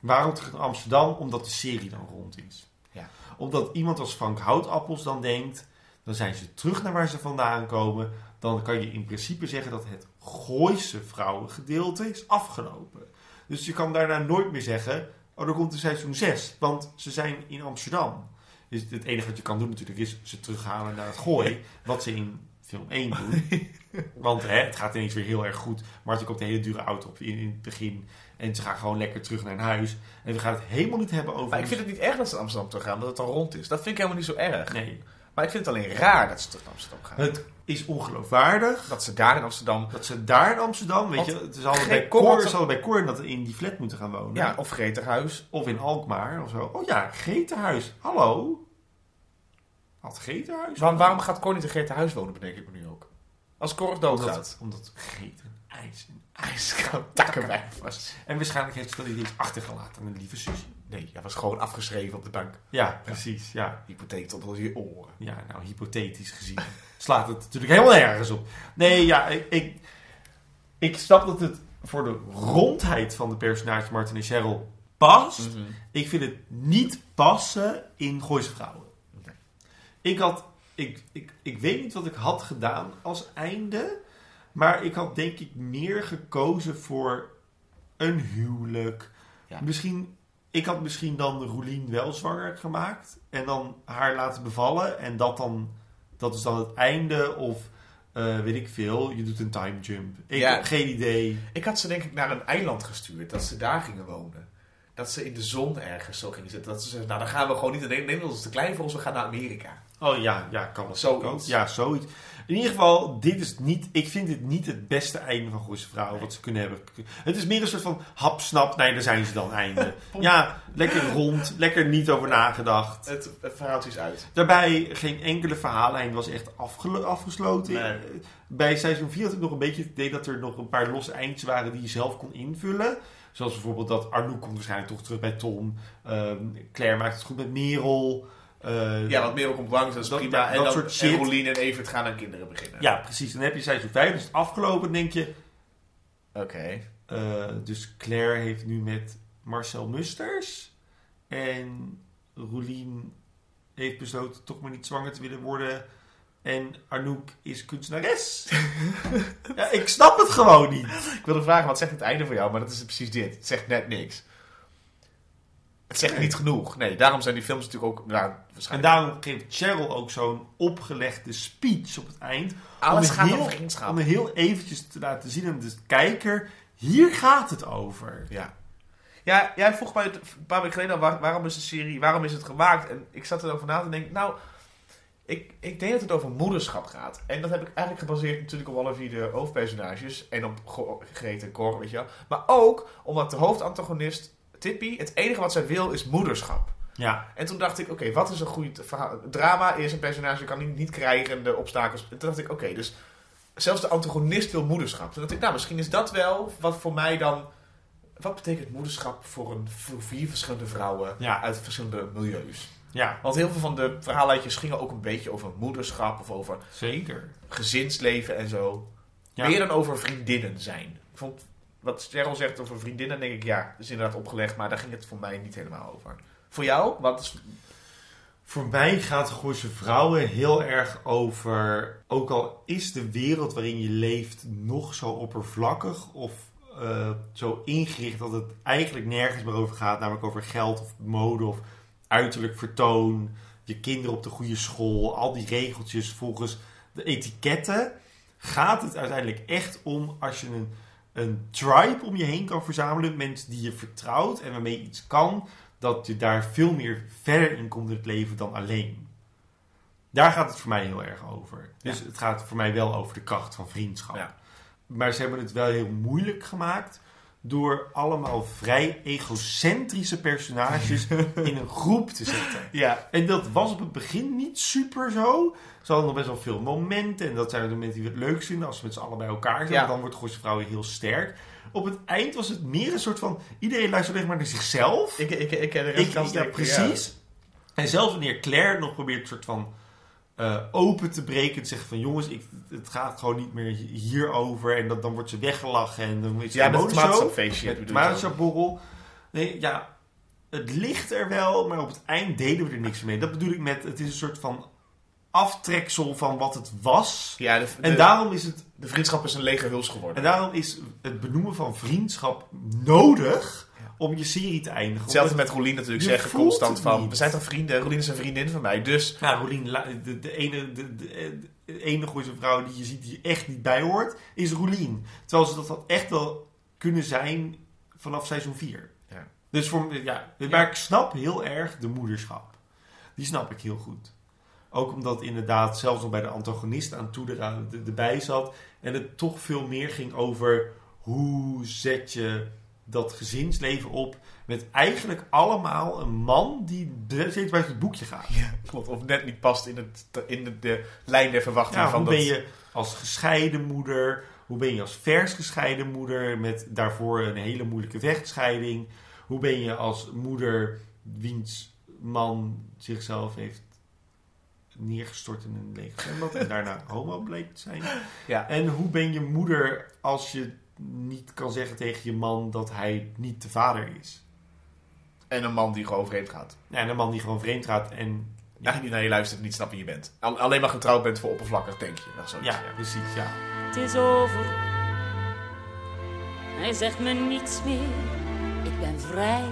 waarom terug naar Amsterdam? Omdat de serie dan rond is.
Ja.
Omdat iemand als Frank Houtappels dan denkt... dan zijn ze terug naar waar ze vandaan komen. Dan kan je in principe zeggen dat het Gooise vrouwengedeelte is afgelopen. Dus je kan daarna nooit meer zeggen, oh, er komt een seizoen 6, want ze zijn in Amsterdam. Dus het enige wat je kan doen natuurlijk is ze terughalen naar het gooi, wat ze in film 1 doen. Want hè, het gaat ineens weer heel erg goed. Martin komt een hele dure auto op in, in het begin en ze gaan gewoon lekker terug naar hun huis. En we gaan het helemaal niet hebben over...
Maar ik vind het niet erg dat ze naar Amsterdam terug gaan, omdat het dan rond is. Dat vind ik helemaal niet zo erg.
Nee,
Maar ik vind het alleen raar dat ze terug naar Amsterdam gaan.
het is ongeloofwaardig.
Dat ze daar in Amsterdam...
Dat ze daar in Amsterdam, weet
Want
je, het is altijd
geen
bij
kor-
Cor, het is altijd bij Cor dat ze in die flat moeten gaan wonen.
Ja, of Greterhuis.
Of in Alkmaar of zo. Oh ja, Getenhuis. Hallo. Had Getenhuis?
Dus Waarom, waarom gaat Cor niet in Greterhuis wonen, bedenk ik me nu ook. Als Cor
Omdat,
doodgaat.
omdat Geten ijs en
Ijskoud takkenwijf was.
En waarschijnlijk heeft ze dat niet eens achtergelaten aan een lieve zusje.
Nee, hij was gewoon afgeschreven op de bank.
Ja, precies. Ja.
Hypotheek tot onder je oren.
ja, nou, hypothetisch gezien slaat het natuurlijk helemaal nergens op. Nee, ja, ik, ik, ik snap dat het voor de rondheid van de personages Martin en Cheryl past.
Mhm.
Ik vind het niet passen in Gooise Vrouwen.
Nee.
Ik had... Ik, ik, ik weet niet wat ik had gedaan als einde. Maar ik had denk ik meer gekozen voor een huwelijk.
Ja.
Misschien... Ik had misschien dan Roelien wel zwanger gemaakt. En dan haar laten bevallen. En dat dan... Dat is dan het einde. Of eh, weet ik veel. Je doet een time jump. Ik
Ja.
heb geen idee.
Ik had ze denk ik naar een eiland gestuurd, dat ze daar gingen wonen. Dat ze in de zon ergens zo gingen zitten. Dat ze zeiden, nou dan gaan we gewoon niet in Nederland, Nederland is te klein voor ons, we gaan naar Amerika.
Oh ja, ja, kan het
Zoiets.
ook. Ja, zoiets. In ieder geval, dit is niet, ik vind dit niet het beste einde van Goeie Vrouwen wat ze kunnen hebben. Het is meer een soort van hap-snap, nee, daar zijn ze dan, einde. ja, lekker rond, lekker niet over nagedacht.
Het, het verhaaltje is uit.
Daarbij, geen enkele verhaallijn was echt afgelo- afgesloten. Eh,
Nee.
Bij seizoen 4 had ik nog een beetje het idee dat er nog een paar losse eindjes waren die je zelf kon invullen. Zoals bijvoorbeeld dat Arnoek komt waarschijnlijk toch terug bij Tom. Ehm, Claire maakt het goed met Merel. Eh,
Ja, want Merel komt langs, dat is
Dat-
prima.
dat-
En
dat
dan
soort
en
shit.
Rolien en Evert gaan aan kinderen beginnen.
Ja, precies. Dan heb je seizoen 5, dus het afgelopen denk je.
Oké.
eh, dus Claire heeft nu met Marcel Musters. En Roelien heeft besloten toch maar niet zwanger te willen worden. En Arnoek is kunstenares. ja, ik snap het gewoon niet.
Ik wilde vragen, wat zegt het einde voor jou? Maar dat is precies dit. Het zegt net niks. Het zegt niet genoeg. Nee, daarom zijn die films natuurlijk ook... Nou,
En
waarschijnlijk...
daarom geeft Cheryl ook zo'n opgelegde speech op het eind.
Alles
om
gaat
heel-
over vriendschap.
Om heel eventjes te laten zien aan de kijker, hier gaat het over.
Ja. Ja, jij vroeg mij het een paar weken geleden al, waar- waarom is de serie, waarom is het gemaakt? En ik zat erover na te denken, nou, ik, ik denk dat het over moederschap gaat. En dat heb ik eigenlijk gebaseerd natuurlijk op alle vier de hoofdpersonages en op Go- Greet en Cor, weet je wel. Maar ook omdat de hoofdantagonist, Tippy, het enige wat zij wil is moederschap.
Ja,
En toen dacht ik, oké, wat is een goed verhaal? Drama is een personage, kan die niet krijgen, de obstakels. En toen dacht ik, oké, dus zelfs de antagonist wil moederschap. Toen dacht ik, nou, misschien is dat wel wat voor mij dan... Wat betekent moederschap voor, een, voor vier verschillende vrouwen
Ja.
uit verschillende milieus?
ja
Want heel veel van de verhaaluitjes gingen ook een beetje over moederschap of over
zeker.
gezinsleven en zo.
Ja.
Meer dan over vriendinnen zijn. Ik vond wat Cheryl zegt over vriendinnen, denk ik, ja, is inderdaad opgelegd, maar daar ging het voor mij niet helemaal over. Voor jou? Wat is
Voor mij gaat Gooise Vrouwen heel erg over. Ook al is de wereld waarin je leeft nog zo oppervlakkig of eh, zo ingericht dat het eigenlijk nergens meer over gaat, namelijk over geld of mode of uiterlijk vertoon, je kinderen op de goede school, al die regeltjes volgens de etiketten, gaat het uiteindelijk echt om als je een, een tribe om je heen kan verzamelen, mensen die je vertrouwt en waarmee je iets kan dat je daar veel meer verder in komt in het leven dan alleen. Daar gaat het voor mij heel erg over. Dus het gaat voor mij wel over de kracht van vriendschap.
Ja.
Maar ze hebben het wel heel moeilijk gemaakt door allemaal vrij egocentrische personages in een groep te zetten.
Ja,
En dat was op het begin niet super zo. Ze hadden nog best wel veel momenten. En dat zijn de momenten die we het leukst vinden als we met z'n allen bij elkaar zijn.
Ja.
Want Dan wordt Gooise Vrouwen heel sterk. Op het eind was het meer een soort van... Iedereen luistert alleen maar naar zichzelf.
Ik, ik, ik ken de
Ik,
rest
ja, precies. En zelfs wanneer Claire nog probeert een soort van eh, open te breken. En zegt van jongens, ik, het gaat gewoon niet meer hi- hierover. En dat, dan wordt ze weggelachen. En dan is het
Ja,
een
met het
modeshow.
tomatensapfeestje.
Met
bedoel
het
je
tomatensapborrel. Nee, ja, het ligt er wel. Maar op het eind deden we er niks mee. Dat bedoel ik met, het is een soort van aftreksel van wat het was.
Ja, de,
En
de-
daarom is het
de vriendschap is een lege huls
En
geworden.
daarom is het benoemen van vriendschap nodig
Ja.
om je serie te eindigen.
Hetzelfde
Omdat-
met Rolien natuurlijk
Je
zeggen
voelt
constant
het
van...
niet.
We zijn toch vrienden? Rolien is een vriendin van mij, dus...
Nou, Roelien, la- de, de ene, de, de, de ene Gooise vrouw die je ziet die je echt niet bij hoort, is Roelien. Terwijl ze dat had echt wel kunnen zijn vanaf seizoen 4.
Ja.
Dus voor, me- ja, maar ik snap heel erg de moederschap. Die snap ik heel goed. Ook omdat inderdaad zelfs nog bij de antagonist aan toe er- aan- er- erbij zat. En het toch veel meer ging over hoe zet je dat gezinsleven op. Met eigenlijk allemaal een man die steeds bij het boekje gaat.
Klopt, of net niet past in, het, in de, de lijn der verwachting
Ja,
van
hoe
dat...
ben je als gescheiden moeder? Hoe ben je als vers gescheiden moeder met daarvoor een hele moeilijke vechtscheiding? Hoe ben je als moeder wiens man zichzelf heeft neergestort in een leeg zwembad en daarna homo bleek te zijn?
Ja.
En hoe ben je moeder als je niet kan zeggen tegen je man dat hij niet de vader is?
En een man die gewoon vreemd gaat.
Ja, en een man die gewoon vreemd gaat en
Eigenlijk niet naar je luistert, niet snapt wie je bent. Al- Alleen maar getrouwd bent voor oppervlakkig, denk je. Dat is zoiets.
ja, precies, ja.
Het is over. Hij zegt me niets meer. Ik ben vrij.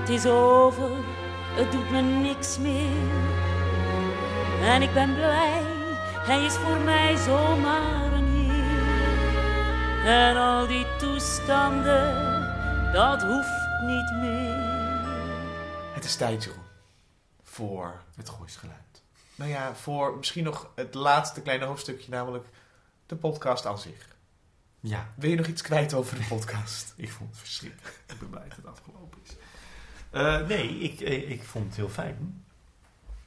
Het is over. Het doet me niks meer. En ik ben blij. Hij is voor mij zomaar een heer. En al die toestanden, dat hoeft niet meer.
Het is tijd, Jeroen. Voor,
Het gooisgeluid.
nou ja, voor misschien nog het laatste kleine hoofdstukje, namelijk de podcast aan zich.
Ja.
Wil je nog iets kwijt over de podcast?
Ik vond het verschrikkelijk. ik ben blij dat het afgelopen is. Eh, nee, ik, eh, ik vond het heel fijn.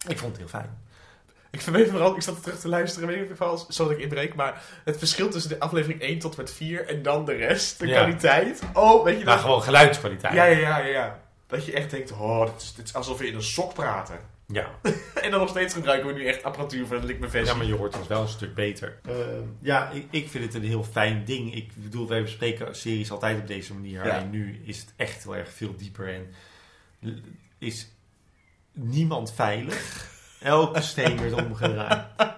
Ik vond het heel fijn.
ik verweet vooral, ik zat terug te luisteren, weet niet of ik vals, zodat ik inbreek, maar het verschil tussen de aflevering 1 tot en met 4 en dan de rest, de
Ja.
kwaliteit. Oh, weet je
Nou,
dat?
gewoon geluidskwaliteit.
Ja, ja, ja, ja, ja. Dat je echt denkt, oh, dit is, dit is alsof we in een sok praten.
ja.
En dan nog steeds gebruiken we nu echt apparatuur voor de likmevestie.
Ja, maar je hoort ons wel een stuk beter. Ehm, ja, ik, ik vind het een heel fijn ding. Ik bedoel, wij bespreken series altijd op deze manier.
Ja.
En nu is het echt heel erg veel dieper en l- is niemand veilig. Elke steen werd omgeraakt.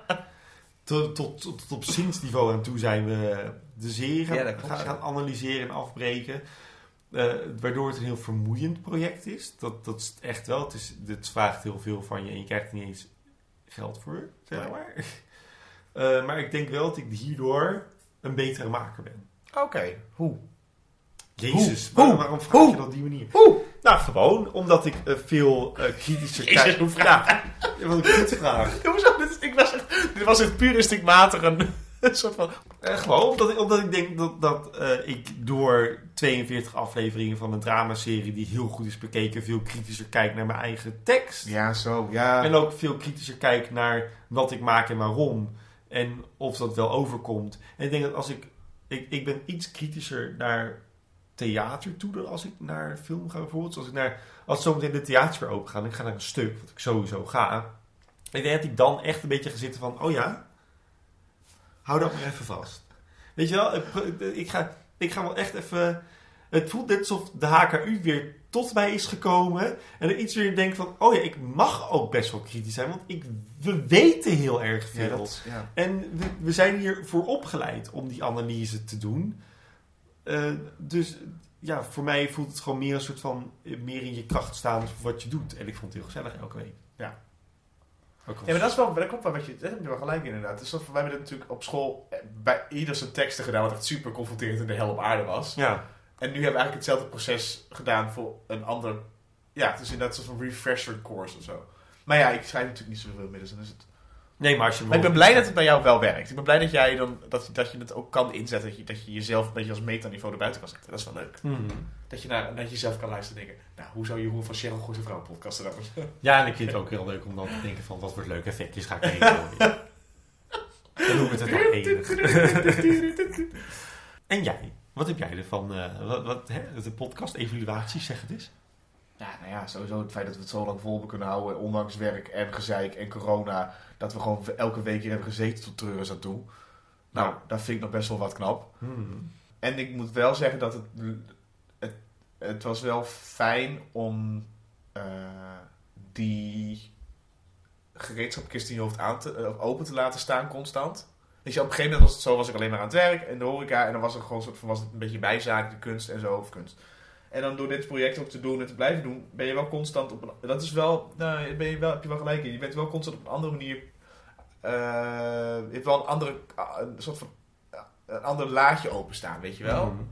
Tot, tot, tot, tot op zinsniveau aan toe zijn we de serie gaan,
Ja, dat klopt,
gaan,
ja.
gaan analyseren en afbreken. Eh, waardoor het een heel vermoeiend project is. Dat, dat is het echt wel. Het, is, het vraagt heel veel van je en je krijgt er niet eens geld voor, zeg
Nee.
maar. Eh, maar ik denk wel dat ik hierdoor een betere maker ben.
Oké, hoe?
Jezus,
Hoe?
waar-
Hoe?
waarom vraag
Hoe?
je dat op die manier?
Hoe?
Nou, gewoon omdat ik eh, veel eh, kritischer
Jezus,
kijk-
hoe
Ja, wat een kutvraag.
Hoezo? Dit, is- ik was echt, dit was echt puur instinctmatig een, een soort van...
Eh, gewoon omdat ik, omdat ik denk dat, dat eh, ik door 42 afleveringen van een dramaserie die heel goed is bekeken, veel kritischer kijk naar mijn eigen tekst.
Ja, zo, ja.
En ook veel kritischer kijk naar wat ik maak en waarom. En of dat wel overkomt. En ik denk dat als ik. Ik, ik ben iets kritischer naar theater toe dan als ik naar film ga bijvoorbeeld. Als, ik naar, als zometeen de theaters weer open gaan en ik ga naar een stuk, wat ik sowieso ga. Ik denk dat ik dan echt een beetje ga zitten van, oh ja, hou dat maar even vast. Weet je wel, ik pro- ik ga, ik ga wel echt even... Het voelt net alsof de HKU weer tot mij is gekomen. En er iets weer denkt van, oh ja, ik mag ook best wel kritisch zijn. Want ik, we weten heel erg veel.
Ja, dat, ja.
En we, we zijn hier voor opgeleid om die analyse te doen. Eh, dus eh, ja, voor mij voelt het gewoon meer een soort van eh, meer in je kracht staan voor wat je doet. En ik vond het heel gezellig elke week.
Ja.
Ook al-
Ja, maar dat, is wel, dat klopt wel wat je... Dat heb je wel gelijk inderdaad. Dus dat, wij hebben dit natuurlijk op school eh, bij ieder zijn teksten gedaan... wat echt super confronterend en de hel op aarde was.
ja.
En nu hebben we eigenlijk hetzelfde proces gedaan voor een ander... Ja, het is inderdaad een soort van refresher course of zo. Maar ja, ik schrijf natuurlijk niet zoveel middels. En dus het...
Nee, maar als je
Maar ik ben blij dat het bij jou wel werkt. Ik ben blij dat, jij dan, dat, dat je het ook kan inzetten. Dat je, dat je jezelf een beetje als metaniveau erbuiten kan zetten. Dat is wel leuk.
Mhm.
Dat je naar, naar jezelf kan luisteren en denken... Nou, hoe zou Jeroen van Cheryl Goede Vrouw podcasten dan?
Ja, en ik vind het ook heel leuk om dan te denken van wat wordt leuk effectjes ga ik eten. Dan noem ik het ook enig. En jij, wat heb jij ervan? eh, wat, wat, hè, de podcast evaluatie, zeg het eens.
Ja, nou ja, sowieso het feit dat we het zo lang vol hebben kunnen houden... ondanks werk en gezeik en corona... dat we gewoon elke week hier hebben gezeten tot treur is aan toe. Nou, dat vind ik nog best wel wat knap.
Hmm.
En ik moet wel zeggen dat het... Het, het was wel fijn om eh, die gereedschapkist in je hoofd aan te, eh, open te laten staan constant. Dus ja, op een gegeven moment was het zo, was ik alleen maar aan het werk in de horeca. En dan was, er gewoon een soort van, was het een beetje bijzaak, de kunst en zo, of kunst. En dan door dit project ook te doen en te blijven doen, ben je wel constant op een... Dat is wel, nou, ben je wel, heb je wel gelijk in. Je bent wel constant op een andere manier... eh, je hebt wel een andere, ah, een soort van, ah, een ander laadje openstaan, weet je wel?
Mhm. Hmm.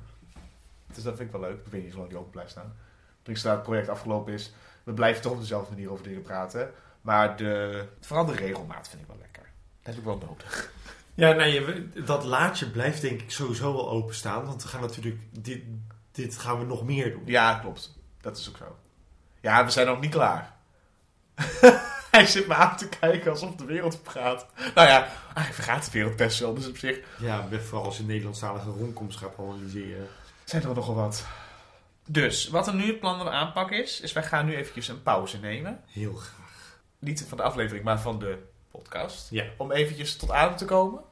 Dus dat vind ik wel leuk. Ik weet niet hoe lang die open blijft staan. Drinks het project afgelopen is. We blijven toch op dezelfde manier over dingen praten. Maar de veranderde regelmaat vind ik wel lekker. Dat is ook wel nodig.
Ja, nou, je, dat laadje blijft denk ik sowieso wel openstaan. Want we gaan natuurlijk... Dit, dit gaan we nog meer doen.
Ja, klopt. Dat is ook zo. Ja, we zijn nog niet klaar. Hij zit me aan te kijken alsof de wereld vergaat. Nou ja, eigenlijk vergaat de wereld best wel. Dus op zich
Ja, vooral als je Nederlandstalige rondkomst gaat analyseren.
zijn er nogal wat. Dus, wat er nu het plan van aanpak is, is wij gaan nu eventjes een pauze nemen.
Heel graag.
Niet van de aflevering, maar van de podcast.
Ja.
om eventjes tot adem te komen.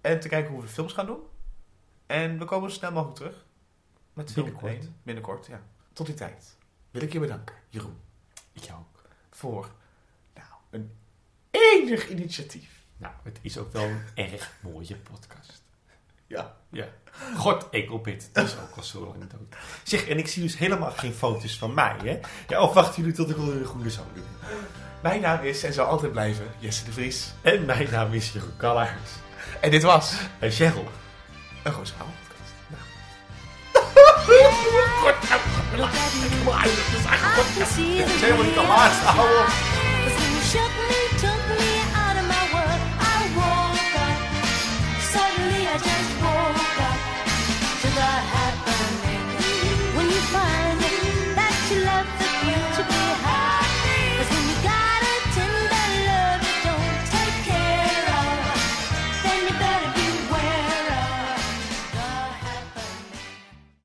En te kijken hoe we films gaan doen. En we komen zo snel mogelijk terug. Met film
Binnenkort.
één. Binnenkort, ja. Tot die tijd wil ik je bedanken, Jeroen.
Ik jou ook.
Voor nou, een enig initiatief.
Nou, het is ook wel een erg mooie podcast.
Ja.
Ja. God, Enkelbit, het is ook al zo lang dood. Zeg, en ik zie dus helemaal geen foto's van mij, hè? Ja, of wachten jullie tot ik wel een goede zang doe?
Mijn naam is en zal altijd blijven Jesse de Vries.
En mijn naam is Jeroen Kallaert.
En dit was
En Cheryl.
een Nou. Roze Vrouw podcast.
Look at me. I can see the
Helemaal niet de laatste, ouwe.
Cause when you shut me